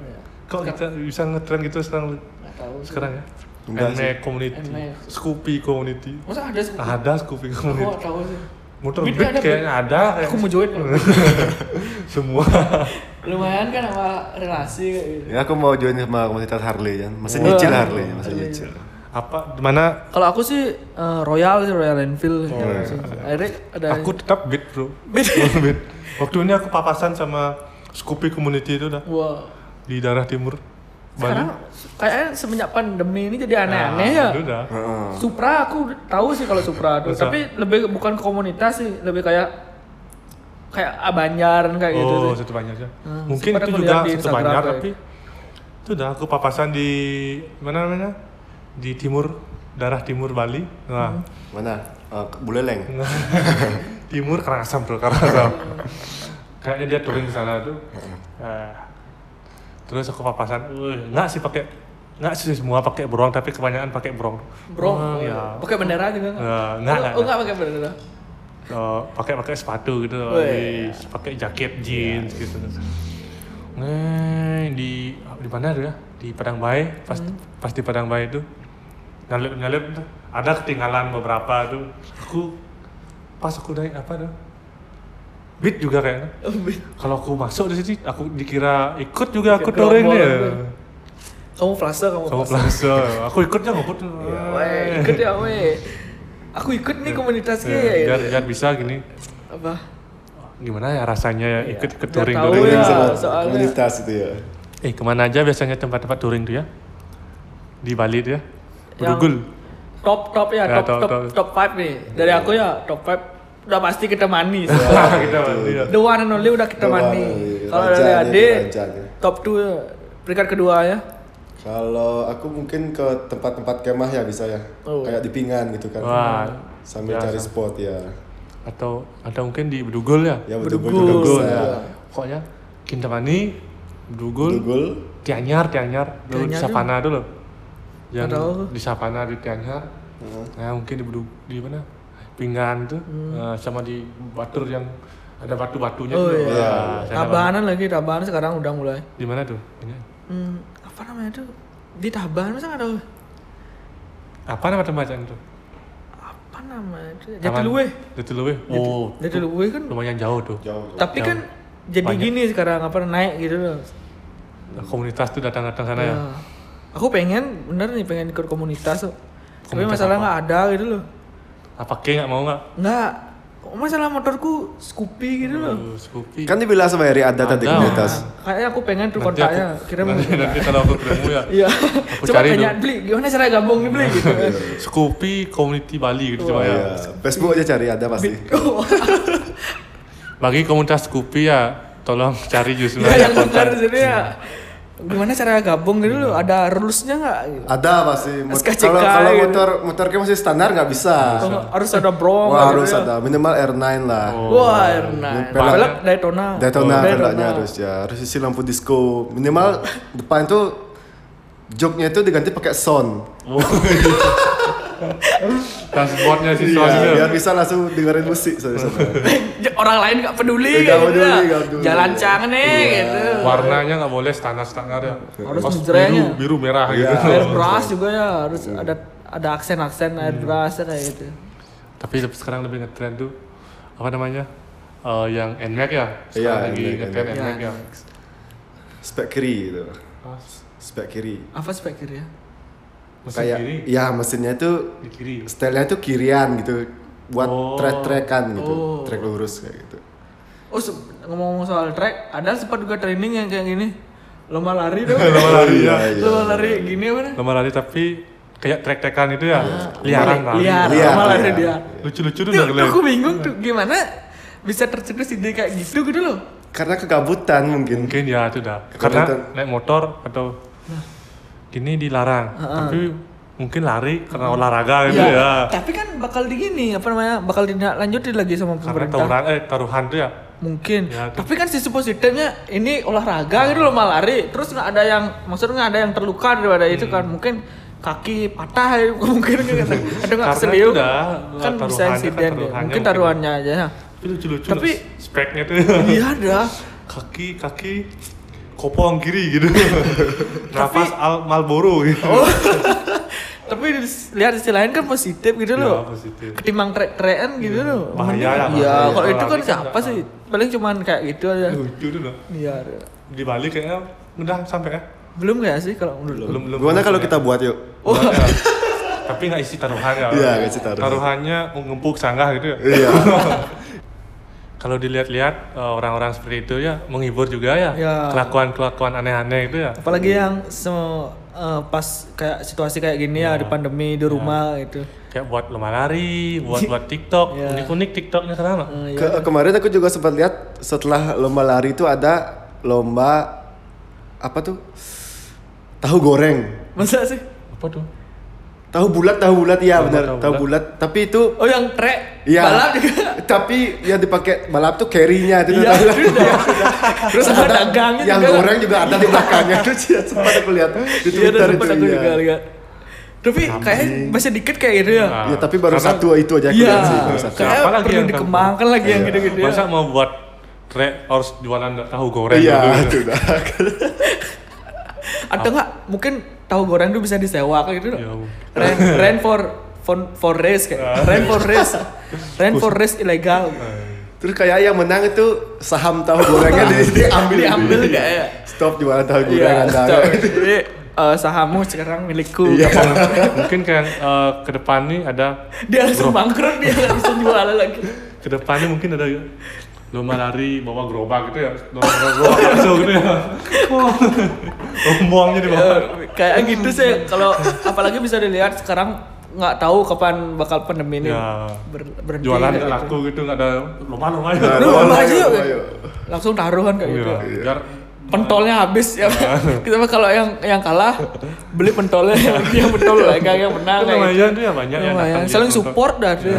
Speaker 1: kok kita bisa ngetrend gitu sekarang
Speaker 2: Nggak tahu.
Speaker 1: sekarang ya
Speaker 4: Enggak sih.
Speaker 1: NMAC community,
Speaker 2: NMAC.
Speaker 1: Scoopy community.
Speaker 2: Masa ada sih?
Speaker 1: Ada Scoopy
Speaker 2: Aku
Speaker 1: community.
Speaker 2: nggak tahu sih.
Speaker 1: Motor
Speaker 2: Bit
Speaker 1: Beat
Speaker 2: ada,
Speaker 1: kayaknya ada kayak [laughs]
Speaker 2: Aku mau join kalau gitu.
Speaker 1: semua.
Speaker 2: lumayan kan sama relasi kayak gitu.
Speaker 3: Ya aku mau join sama komunitas Harley
Speaker 4: ya.
Speaker 3: kan. Masih
Speaker 2: Wah.
Speaker 3: nyicil Harley, masih
Speaker 2: Harley.
Speaker 3: nyicil.
Speaker 1: Apa mana
Speaker 2: Kalau aku sih eh, Royal sih Royal Enfield.
Speaker 1: Oh,
Speaker 2: Ya,
Speaker 1: iya.
Speaker 2: sih. Akhirnya ada
Speaker 1: aku tetap Beat, Bro.
Speaker 2: Beat.
Speaker 1: Beat. Waktu ini aku papasan sama Scoopy community itu dah
Speaker 2: Wah.
Speaker 1: di daerah timur
Speaker 2: Sekarang
Speaker 1: Bali.
Speaker 2: kayaknya semenjak pandemi ini jadi
Speaker 1: Nah,
Speaker 2: aneh-aneh ya.
Speaker 1: itu dah.
Speaker 3: Heeh.
Speaker 2: Supra aku tahu sih kalau Supra tuh,
Speaker 1: Masa?
Speaker 2: tapi lebih bukan komunitas sih, lebih kayak kayak Abanjaran kayak gitu
Speaker 1: oh,
Speaker 2: sih.
Speaker 1: satu banyak aja.
Speaker 2: Hmm,
Speaker 1: Mungkin
Speaker 2: sempat
Speaker 1: itu
Speaker 2: aku
Speaker 1: juga
Speaker 2: lihat di
Speaker 1: satu
Speaker 2: Instagram
Speaker 1: banyak
Speaker 2: kayak. gitu.
Speaker 1: tapi itu udah aku papasan di mana namanya? Di timur daerah timur Bali.
Speaker 2: Hmm.
Speaker 1: Nah,
Speaker 3: Mana? Eh, Buleleng.
Speaker 2: Nah,
Speaker 1: timur Karangasem bro, Karangasem. [laughs] Kayaknya dia touring ke sana tuh. Nah, terus aku papasan, "Wih, nggak sih pakai nggak sih semua pakai brong tapi kebanyakan pakai brong.
Speaker 2: Bro,
Speaker 1: Ah, ya.
Speaker 2: pakai bendera juga nggak?
Speaker 1: Ya, nggak,
Speaker 2: Oh,
Speaker 1: nggak,
Speaker 2: Oh,
Speaker 1: nggak.
Speaker 2: nggak pakai bendera. [laughs]
Speaker 1: Eh, pakai pakai sepatu gitu, wih,
Speaker 2: Wih.
Speaker 1: pakai jaket jeans gitu. Nah, di di mana tuh ya? Di Padang Bayi, pas pas di Padang Bayi itu nyalip nyalip tuh. ada ketinggalan beberapa tuh. Aku pas aku naik apa tuh? Beat juga kayaknya. Kalau aku masuk di sini, aku dikira ikut juga aku
Speaker 2: Ikut
Speaker 1: touring ya.
Speaker 2: kelompok
Speaker 1: dia.
Speaker 2: gitu. Kamu flase, kamu
Speaker 1: Kamu
Speaker 2: flase.
Speaker 1: pelasa, aku ikutnya ngikut.
Speaker 2: Weh, Iya, ikut ya, weh. Aku ikut nih komunitasnya
Speaker 1: Ya,
Speaker 2: ya.
Speaker 1: biar, biar bisa gini.
Speaker 2: Apa?
Speaker 1: Gimana ya rasanya ya ikut ikut
Speaker 2: biar
Speaker 1: touring
Speaker 2: Iya, tahu
Speaker 1: touring.
Speaker 2: ya.
Speaker 3: sama
Speaker 2: soalnya-
Speaker 3: komunitas itu
Speaker 4: gitu
Speaker 3: ya.
Speaker 1: Eh kemana aja biasanya tempat-tempat touring tuh ya? Di Bali tuh ya?
Speaker 2: [laughs]
Speaker 1: Bedugul.
Speaker 2: Top top ya,
Speaker 1: Ya,
Speaker 2: top
Speaker 1: top,
Speaker 2: top
Speaker 1: top.
Speaker 2: top 5 nih. Dari aku ya top 5 udah pasti kita manis.
Speaker 1: Kita Bali ya.
Speaker 2: The one and only udah
Speaker 4: The
Speaker 2: kita
Speaker 4: one
Speaker 2: mandi.
Speaker 4: and only.
Speaker 2: Kalau
Speaker 4: Raja
Speaker 2: dari
Speaker 4: nih,
Speaker 2: Ade,
Speaker 4: raja nih.
Speaker 2: top 2 peringkat kedua ya.
Speaker 4: Kalau aku mungkin ke tempat-tempat kemah ya bisa ya.
Speaker 2: Oh.
Speaker 4: Kayak di Pingan gitu kan.
Speaker 1: Wah.
Speaker 4: Sambil
Speaker 1: biasa.
Speaker 4: cari spot ya.
Speaker 1: Atau atau mungkin di Bedugul ya?
Speaker 4: Ya
Speaker 2: Bedugul, iya.
Speaker 4: betul-betul
Speaker 1: Bedugul.
Speaker 4: ya.
Speaker 1: Ya. Pokoknya Kintamani, Bedugul,
Speaker 4: Bedugul.
Speaker 1: Tianyar, Tianyar, dulu di
Speaker 2: Tianyar
Speaker 1: Savana dulu. Yang
Speaker 2: Atau-
Speaker 1: di Savana di Tianyar.
Speaker 4: Hmm.
Speaker 1: Nah, mungkin di Bedug- di mana? Pinggan tuh eh, sama di Batur yang ada batu-batunya
Speaker 2: Hmm. Oh
Speaker 1: tuh.
Speaker 2: iya.
Speaker 1: Nah, sana banget.
Speaker 2: Tabanan lagi, Tabanan sekarang udah mulai.
Speaker 1: Di mana tuh? Ini.
Speaker 2: Hmm, apa namanya tuh? Di Tabanan masa nggak tahu?
Speaker 1: Apa nama tempatnya itu?
Speaker 2: Apa namanya tuh?
Speaker 1: Taman-
Speaker 2: Jatiluwe.
Speaker 1: Jatiluwe. Oh,
Speaker 2: Jatiluwe kan.
Speaker 1: lumayan jauh tuh.
Speaker 4: Jauh.
Speaker 2: Tapi
Speaker 1: Yang
Speaker 2: kan jadi
Speaker 1: banyak.
Speaker 2: gini sekarang apa naik gitu loh.
Speaker 1: Nah, komunitas tuh datang-datang sana ya.
Speaker 2: Ya. Aku pengen bener nih pengen ikut komunitas. tuh. Tapi
Speaker 1: Komunitas
Speaker 2: masalah
Speaker 1: apa?
Speaker 2: nggak ada gitu loh.
Speaker 1: Apa Kay nggak mau nggak?
Speaker 2: Nggak. Masalah motorku Scoopy gitu loh.
Speaker 1: Aduh, Scoopy.
Speaker 4: Kan dibilang sama Heri ada tadi
Speaker 1: Ada.
Speaker 4: komunitas.
Speaker 2: Kayaknya aku pengen tuh
Speaker 1: Nanti
Speaker 2: kontaknya.
Speaker 1: [laughs] aku-
Speaker 2: Kira mau.
Speaker 1: nanti, nanti kalau aku ketemu ya.
Speaker 2: [laughs] Iya.
Speaker 1: Aku
Speaker 2: Coba
Speaker 1: cari
Speaker 2: tanya
Speaker 1: dulu.
Speaker 2: beli gimana cara gabung nih
Speaker 1: [laughs]
Speaker 2: beli gitu.
Speaker 1: Scoopy Community Bali gitu coba
Speaker 2: Oh, iya.
Speaker 1: ya.
Speaker 4: Ya, Facebook aja cari ada pasti.
Speaker 1: Bagi komunitas Scoopy ya tolong cari justru
Speaker 2: ya yang benar
Speaker 1: kontak.
Speaker 2: jadi ya. Gimana cara gabung gitu loh? Ada rulesnya nggak? gitu?
Speaker 4: Ada pasti. Mot-
Speaker 2: SKCK
Speaker 4: Kalau kalau
Speaker 2: gitu.
Speaker 4: motor motor kayak masih standar nggak bisa.
Speaker 2: Atau nggak, Oh. harus ada brong.
Speaker 4: Wah,
Speaker 2: gitu
Speaker 4: harus
Speaker 2: ya?
Speaker 4: ada minimal R9 lah.
Speaker 2: Wah, Ernan.
Speaker 4: Pelek.
Speaker 2: Pelek Daytona.
Speaker 4: Daytona velgnya harus ya, harus isi lampu disco. Minimal depan tuh joknya itu diganti pakai sound.
Speaker 1: Transportnya sih
Speaker 4: Iya,
Speaker 1: soalnya.
Speaker 4: biar bisa langsung dengerin musik soalnya.
Speaker 2: Ya, Orang lain nggak peduli.
Speaker 4: Nggak
Speaker 2: gitu
Speaker 4: peduli,
Speaker 2: ya.
Speaker 4: nggak peduli. Iya.
Speaker 2: Jalan cang nih gitu.
Speaker 1: Warnanya nggak boleh standar standar ya.
Speaker 2: Harus
Speaker 1: Pas biru,
Speaker 2: menjerainya.
Speaker 1: biru merah
Speaker 4: Iya.
Speaker 1: gitu.
Speaker 2: Air brush juga ya harus ada ada aksen-aksen
Speaker 4: Iya.
Speaker 2: air brush kayak gitu.
Speaker 1: Tapi leb- sekarang lebih ngetrend tuh apa namanya? Eh, yang NMAX ya.
Speaker 4: Iya,
Speaker 1: Sekarang lagi
Speaker 4: NMAX,
Speaker 1: ngetrend
Speaker 2: NMAX.
Speaker 1: NMAX ya.
Speaker 4: Spek kiri gitu.
Speaker 1: Pas
Speaker 4: Spek kiri.
Speaker 2: Apa spek kiri ya?
Speaker 1: Ah, mesin
Speaker 4: Kayak
Speaker 1: kiri,
Speaker 4: ya mesinnya itu
Speaker 1: di kiri.
Speaker 4: stylenya tuh kirian gitu buat
Speaker 1: Oh.
Speaker 4: trek-trekan gitu,
Speaker 2: Oh.
Speaker 4: trek lurus kayak gitu.
Speaker 2: Oh, se- ngomong-ngomong soal track, ada sempat juga training yang kayak gini. Lomba lari
Speaker 4: [laughs]
Speaker 2: dong.
Speaker 1: Lomba lari ya.
Speaker 4: Iya, iya.
Speaker 2: Lomba lari gini apa nih?
Speaker 1: Lomba lari tapi kayak trek-trekan itu ya. Liaran lah.
Speaker 2: Iya. Liar,
Speaker 4: Liar,
Speaker 2: lomba lari
Speaker 4: liar.
Speaker 2: dia.
Speaker 1: Lucu-lucu tuh
Speaker 2: Tuh,
Speaker 1: udah
Speaker 2: aku bingung tuh gimana bisa tercetus ide kayak gitu gitu loh.
Speaker 4: Karena kegabutan mungkin.
Speaker 1: Mungkin ya itu dah.
Speaker 4: Kalau
Speaker 1: Karena
Speaker 4: kita-
Speaker 1: naik motor atau
Speaker 2: Nah.
Speaker 1: gini dilarang.
Speaker 2: Ah,
Speaker 1: Tapi mungkin lari karena
Speaker 2: Iya.
Speaker 1: olahraga gitu ya.
Speaker 2: Tapi kan bakal di gini apa namanya? Bakal dilanjutin lagi sama
Speaker 1: Karena
Speaker 2: pemerintah.
Speaker 1: tawuran eh taruhan tuh ya.
Speaker 2: Mungkin.
Speaker 1: Ya, tuh.
Speaker 2: Tapi kan sisi positifnya ini olahraga gitu loh malah lari. Terus nggak ada yang maksudnya nggak ada yang terluka daripada itu
Speaker 1: Hmm.
Speaker 2: kan. Mungkin kaki patah [laughs] ya, mungkin gitu. Ada nggak
Speaker 1: Karena
Speaker 2: keseliu
Speaker 1: itu dah,
Speaker 2: kan bisa
Speaker 1: taruhannya kan
Speaker 2: insiden ya.
Speaker 1: taruhannya
Speaker 2: Mungkin
Speaker 1: mungkin.
Speaker 2: taruhannya aja. ya.
Speaker 1: Tapi lucu-lucu.
Speaker 2: Tapi-
Speaker 1: loh, speknya tuh.
Speaker 2: Iya ada.
Speaker 1: [laughs] kaki kaki
Speaker 2: [laughs]
Speaker 1: kopong kiri gitu. Nafas al Malboro gitu.
Speaker 2: Oh. tapi di- lihat di sisi lain kan positif gitu
Speaker 1: Ya,
Speaker 2: loh
Speaker 1: positif.
Speaker 2: ketimbang trek-trekan gitu loh
Speaker 1: Bahaya lah,
Speaker 2: Mending- iya
Speaker 1: bahaya.
Speaker 2: kalau itu kan
Speaker 1: Apalagi
Speaker 2: siapa
Speaker 1: kan
Speaker 2: sih paling cuman kayak gitu aja
Speaker 1: lucu tuh loh
Speaker 2: iya
Speaker 1: di Bali kayaknya udah sampai ya
Speaker 2: belum kayak sih kalau belum
Speaker 1: belum belum
Speaker 3: Gimana kalau kita buat yuk?
Speaker 1: oh. ya. tapi nggak isi taruhan ya
Speaker 3: Iya, nggak isi taruhan.
Speaker 1: taruhannya ngempuk sanggah gitu ya
Speaker 3: Iya.
Speaker 1: kalau dilihat-lihat eh, orang-orang seperti itu ya menghibur juga ya
Speaker 2: Ya.
Speaker 1: kelakuan-kelakuan aneh-aneh itu ya
Speaker 2: apalagi yang se- eh, pas kayak situasi kayak gini ya, di pandemi di rumah gitu
Speaker 1: kayak buat lomba lari buat buat TikTok
Speaker 2: Ya.
Speaker 1: unik-unik TikToknya kenapa
Speaker 2: Eh, iya.
Speaker 3: Ke- kemarin aku juga sempat lihat setelah lomba lari itu ada lomba apa tuh? Tahu goreng.
Speaker 2: masa sih
Speaker 1: apa tuh
Speaker 3: Tahu bulat, tahu bulat iya
Speaker 1: Lomba
Speaker 3: benar.
Speaker 1: tahu
Speaker 3: Tahu bulat. Tapi itu
Speaker 2: oh yang trek
Speaker 3: Iya.
Speaker 2: balap juga
Speaker 3: [laughs] Tapi yang dipakai balap tuh carry-nya itu
Speaker 2: [laughs] Iya,
Speaker 3: tuh.
Speaker 2: juga.
Speaker 3: Terus
Speaker 2: Sama
Speaker 3: ada
Speaker 2: dagangnya
Speaker 3: yang
Speaker 2: juga.
Speaker 3: goreng juga ada di
Speaker 2: [laughs]
Speaker 3: belakangnya. Terus ya, sempat aku lihat di
Speaker 2: iya
Speaker 3: Twitter
Speaker 2: dan
Speaker 3: itu.
Speaker 2: sempat aku
Speaker 3: iya.
Speaker 2: juga lihat tapi kayaknya masih dikit kayak gitu ya
Speaker 1: Nah,
Speaker 3: Ya tapi baru
Speaker 1: karena-
Speaker 3: satu itu aja aku
Speaker 2: iya
Speaker 3: lihat sih, baru satu.
Speaker 1: Siapa
Speaker 2: kayak
Speaker 1: lagi
Speaker 2: perlu
Speaker 1: yang
Speaker 2: dikembangkan lagi
Speaker 1: Iya.
Speaker 2: yang gitu-gitu ya.
Speaker 1: masa mau buat trek harus jualan tahu goreng
Speaker 3: Iya, [laughs]
Speaker 1: gitu.
Speaker 3: itu dah.
Speaker 2: atau enggak mungkin tahu goreng tuh bisa disewa kayak gitu
Speaker 1: Ya,
Speaker 2: loh.
Speaker 1: ampun. Ah.
Speaker 2: Rent, rent for for for race kayak rent for race rent for race ilegal
Speaker 3: Terus kayak yang menang itu saham tahu gorengnya di, diambil
Speaker 2: Iya. Diambil ya? kayak.
Speaker 3: Stop jualan tahu goreng
Speaker 2: iya
Speaker 3: Anda.
Speaker 2: stop. jadi eh, sahammu sekarang milikku
Speaker 1: [laughs]
Speaker 3: Iya.
Speaker 1: mungkin kayak eh, ke depan nih ada
Speaker 2: dia langsung bangkrut dia nggak bisa jualan lagi
Speaker 1: ke depannya mungkin ada lomba lari bawa gerobak gitu ya lomba gerobak bakso gitu ya omongnya di bawah
Speaker 2: Eh, kayak gitu sih kalau apalagi bisa dilihat sekarang nggak tahu kapan bakal pandemi ini
Speaker 1: Ya.
Speaker 2: ber- berhenti
Speaker 1: jualan
Speaker 2: kayak
Speaker 1: nggak
Speaker 2: gitu.
Speaker 1: laku gitu nggak ada lomba lomba
Speaker 3: Nah,
Speaker 2: Lu
Speaker 3: lomba
Speaker 2: lomba
Speaker 3: lari,
Speaker 2: aja yuk.
Speaker 3: lomba yuk.
Speaker 2: langsung taruhan kayak gitu
Speaker 1: Iya, biar Nah.
Speaker 2: pentolnya habis ya [laughs] kita mah kalau yang yang kalah beli pentolnya [laughs] yang yang pentol lah yang yang menang
Speaker 1: Iya. Itu
Speaker 2: kayak gitu.
Speaker 1: lumayan tuh ya banyak yang
Speaker 2: Lumayan.
Speaker 1: datang
Speaker 2: saling
Speaker 1: gitu.
Speaker 2: support dah tuh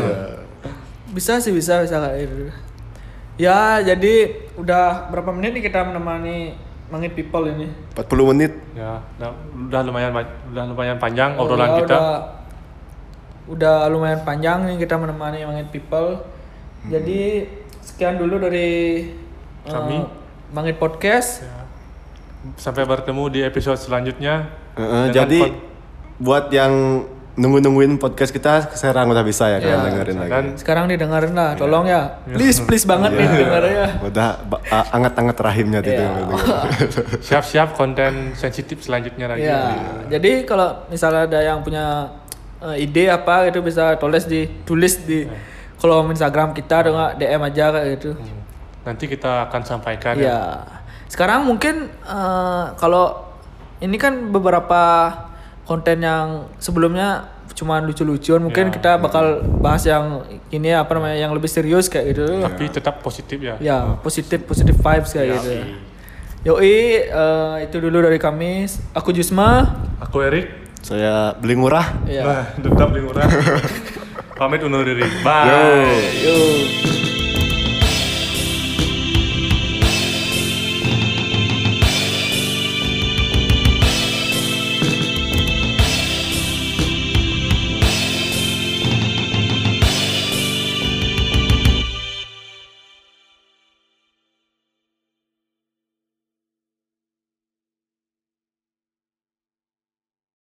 Speaker 2: bisa sih bisa bisa kayak gitu ya jadi udah berapa menit nih kita menemani mangit people ini
Speaker 3: 40 menit.
Speaker 1: ya udah, udah lumayan ba- udah lumayan panjang obrolan
Speaker 2: Ya,
Speaker 1: kita
Speaker 2: udah, udah lumayan panjang nih kita menemani mangit people
Speaker 1: Hmm.
Speaker 2: jadi sekian dulu dari eh,
Speaker 1: Kami. Ya.
Speaker 2: mangit podcast
Speaker 1: sampai bertemu di episode selanjutnya
Speaker 3: Heeh,
Speaker 1: Dengan
Speaker 3: jadi
Speaker 1: pod-
Speaker 3: buat yang nunggu-nungguin podcast kita sekarang udah bisa ya kalian
Speaker 2: Iya.
Speaker 3: dengerin lagi.
Speaker 1: dan
Speaker 2: sekarang didengarin
Speaker 1: Iya.
Speaker 2: lah tolong ya please please banget nih dengerin ya
Speaker 3: Udah ba- a- anget-anget rahimnya gitu. tuh.
Speaker 2: Iya.
Speaker 1: siap-siap konten sensitif selanjutnya lagi
Speaker 2: Iya. Jadi kalau misalnya ada yang punya eh, ide apa gitu bisa tulis di tulis di kolom Instagram kita atau nggak DM aja kayak gitu.
Speaker 1: nanti kita akan sampaikan ya.
Speaker 2: Iya. Sekarang mungkin eh, kalau ini kan beberapa konten yang sebelumnya cuma lucu-lucuan mungkin kita bakal bahas yang ini apa namanya yang lebih serius kayak gitu.
Speaker 1: tapi tetap positif ya
Speaker 2: Ya, positif positif vibes kayak gitu. Yoi, eh, itu dulu dari kami. Aku Jusma.
Speaker 1: aku Erik
Speaker 3: Saya beli murah.
Speaker 2: Ya.
Speaker 1: Nah, tetap di murah pamit undur diri bye
Speaker 2: Yo.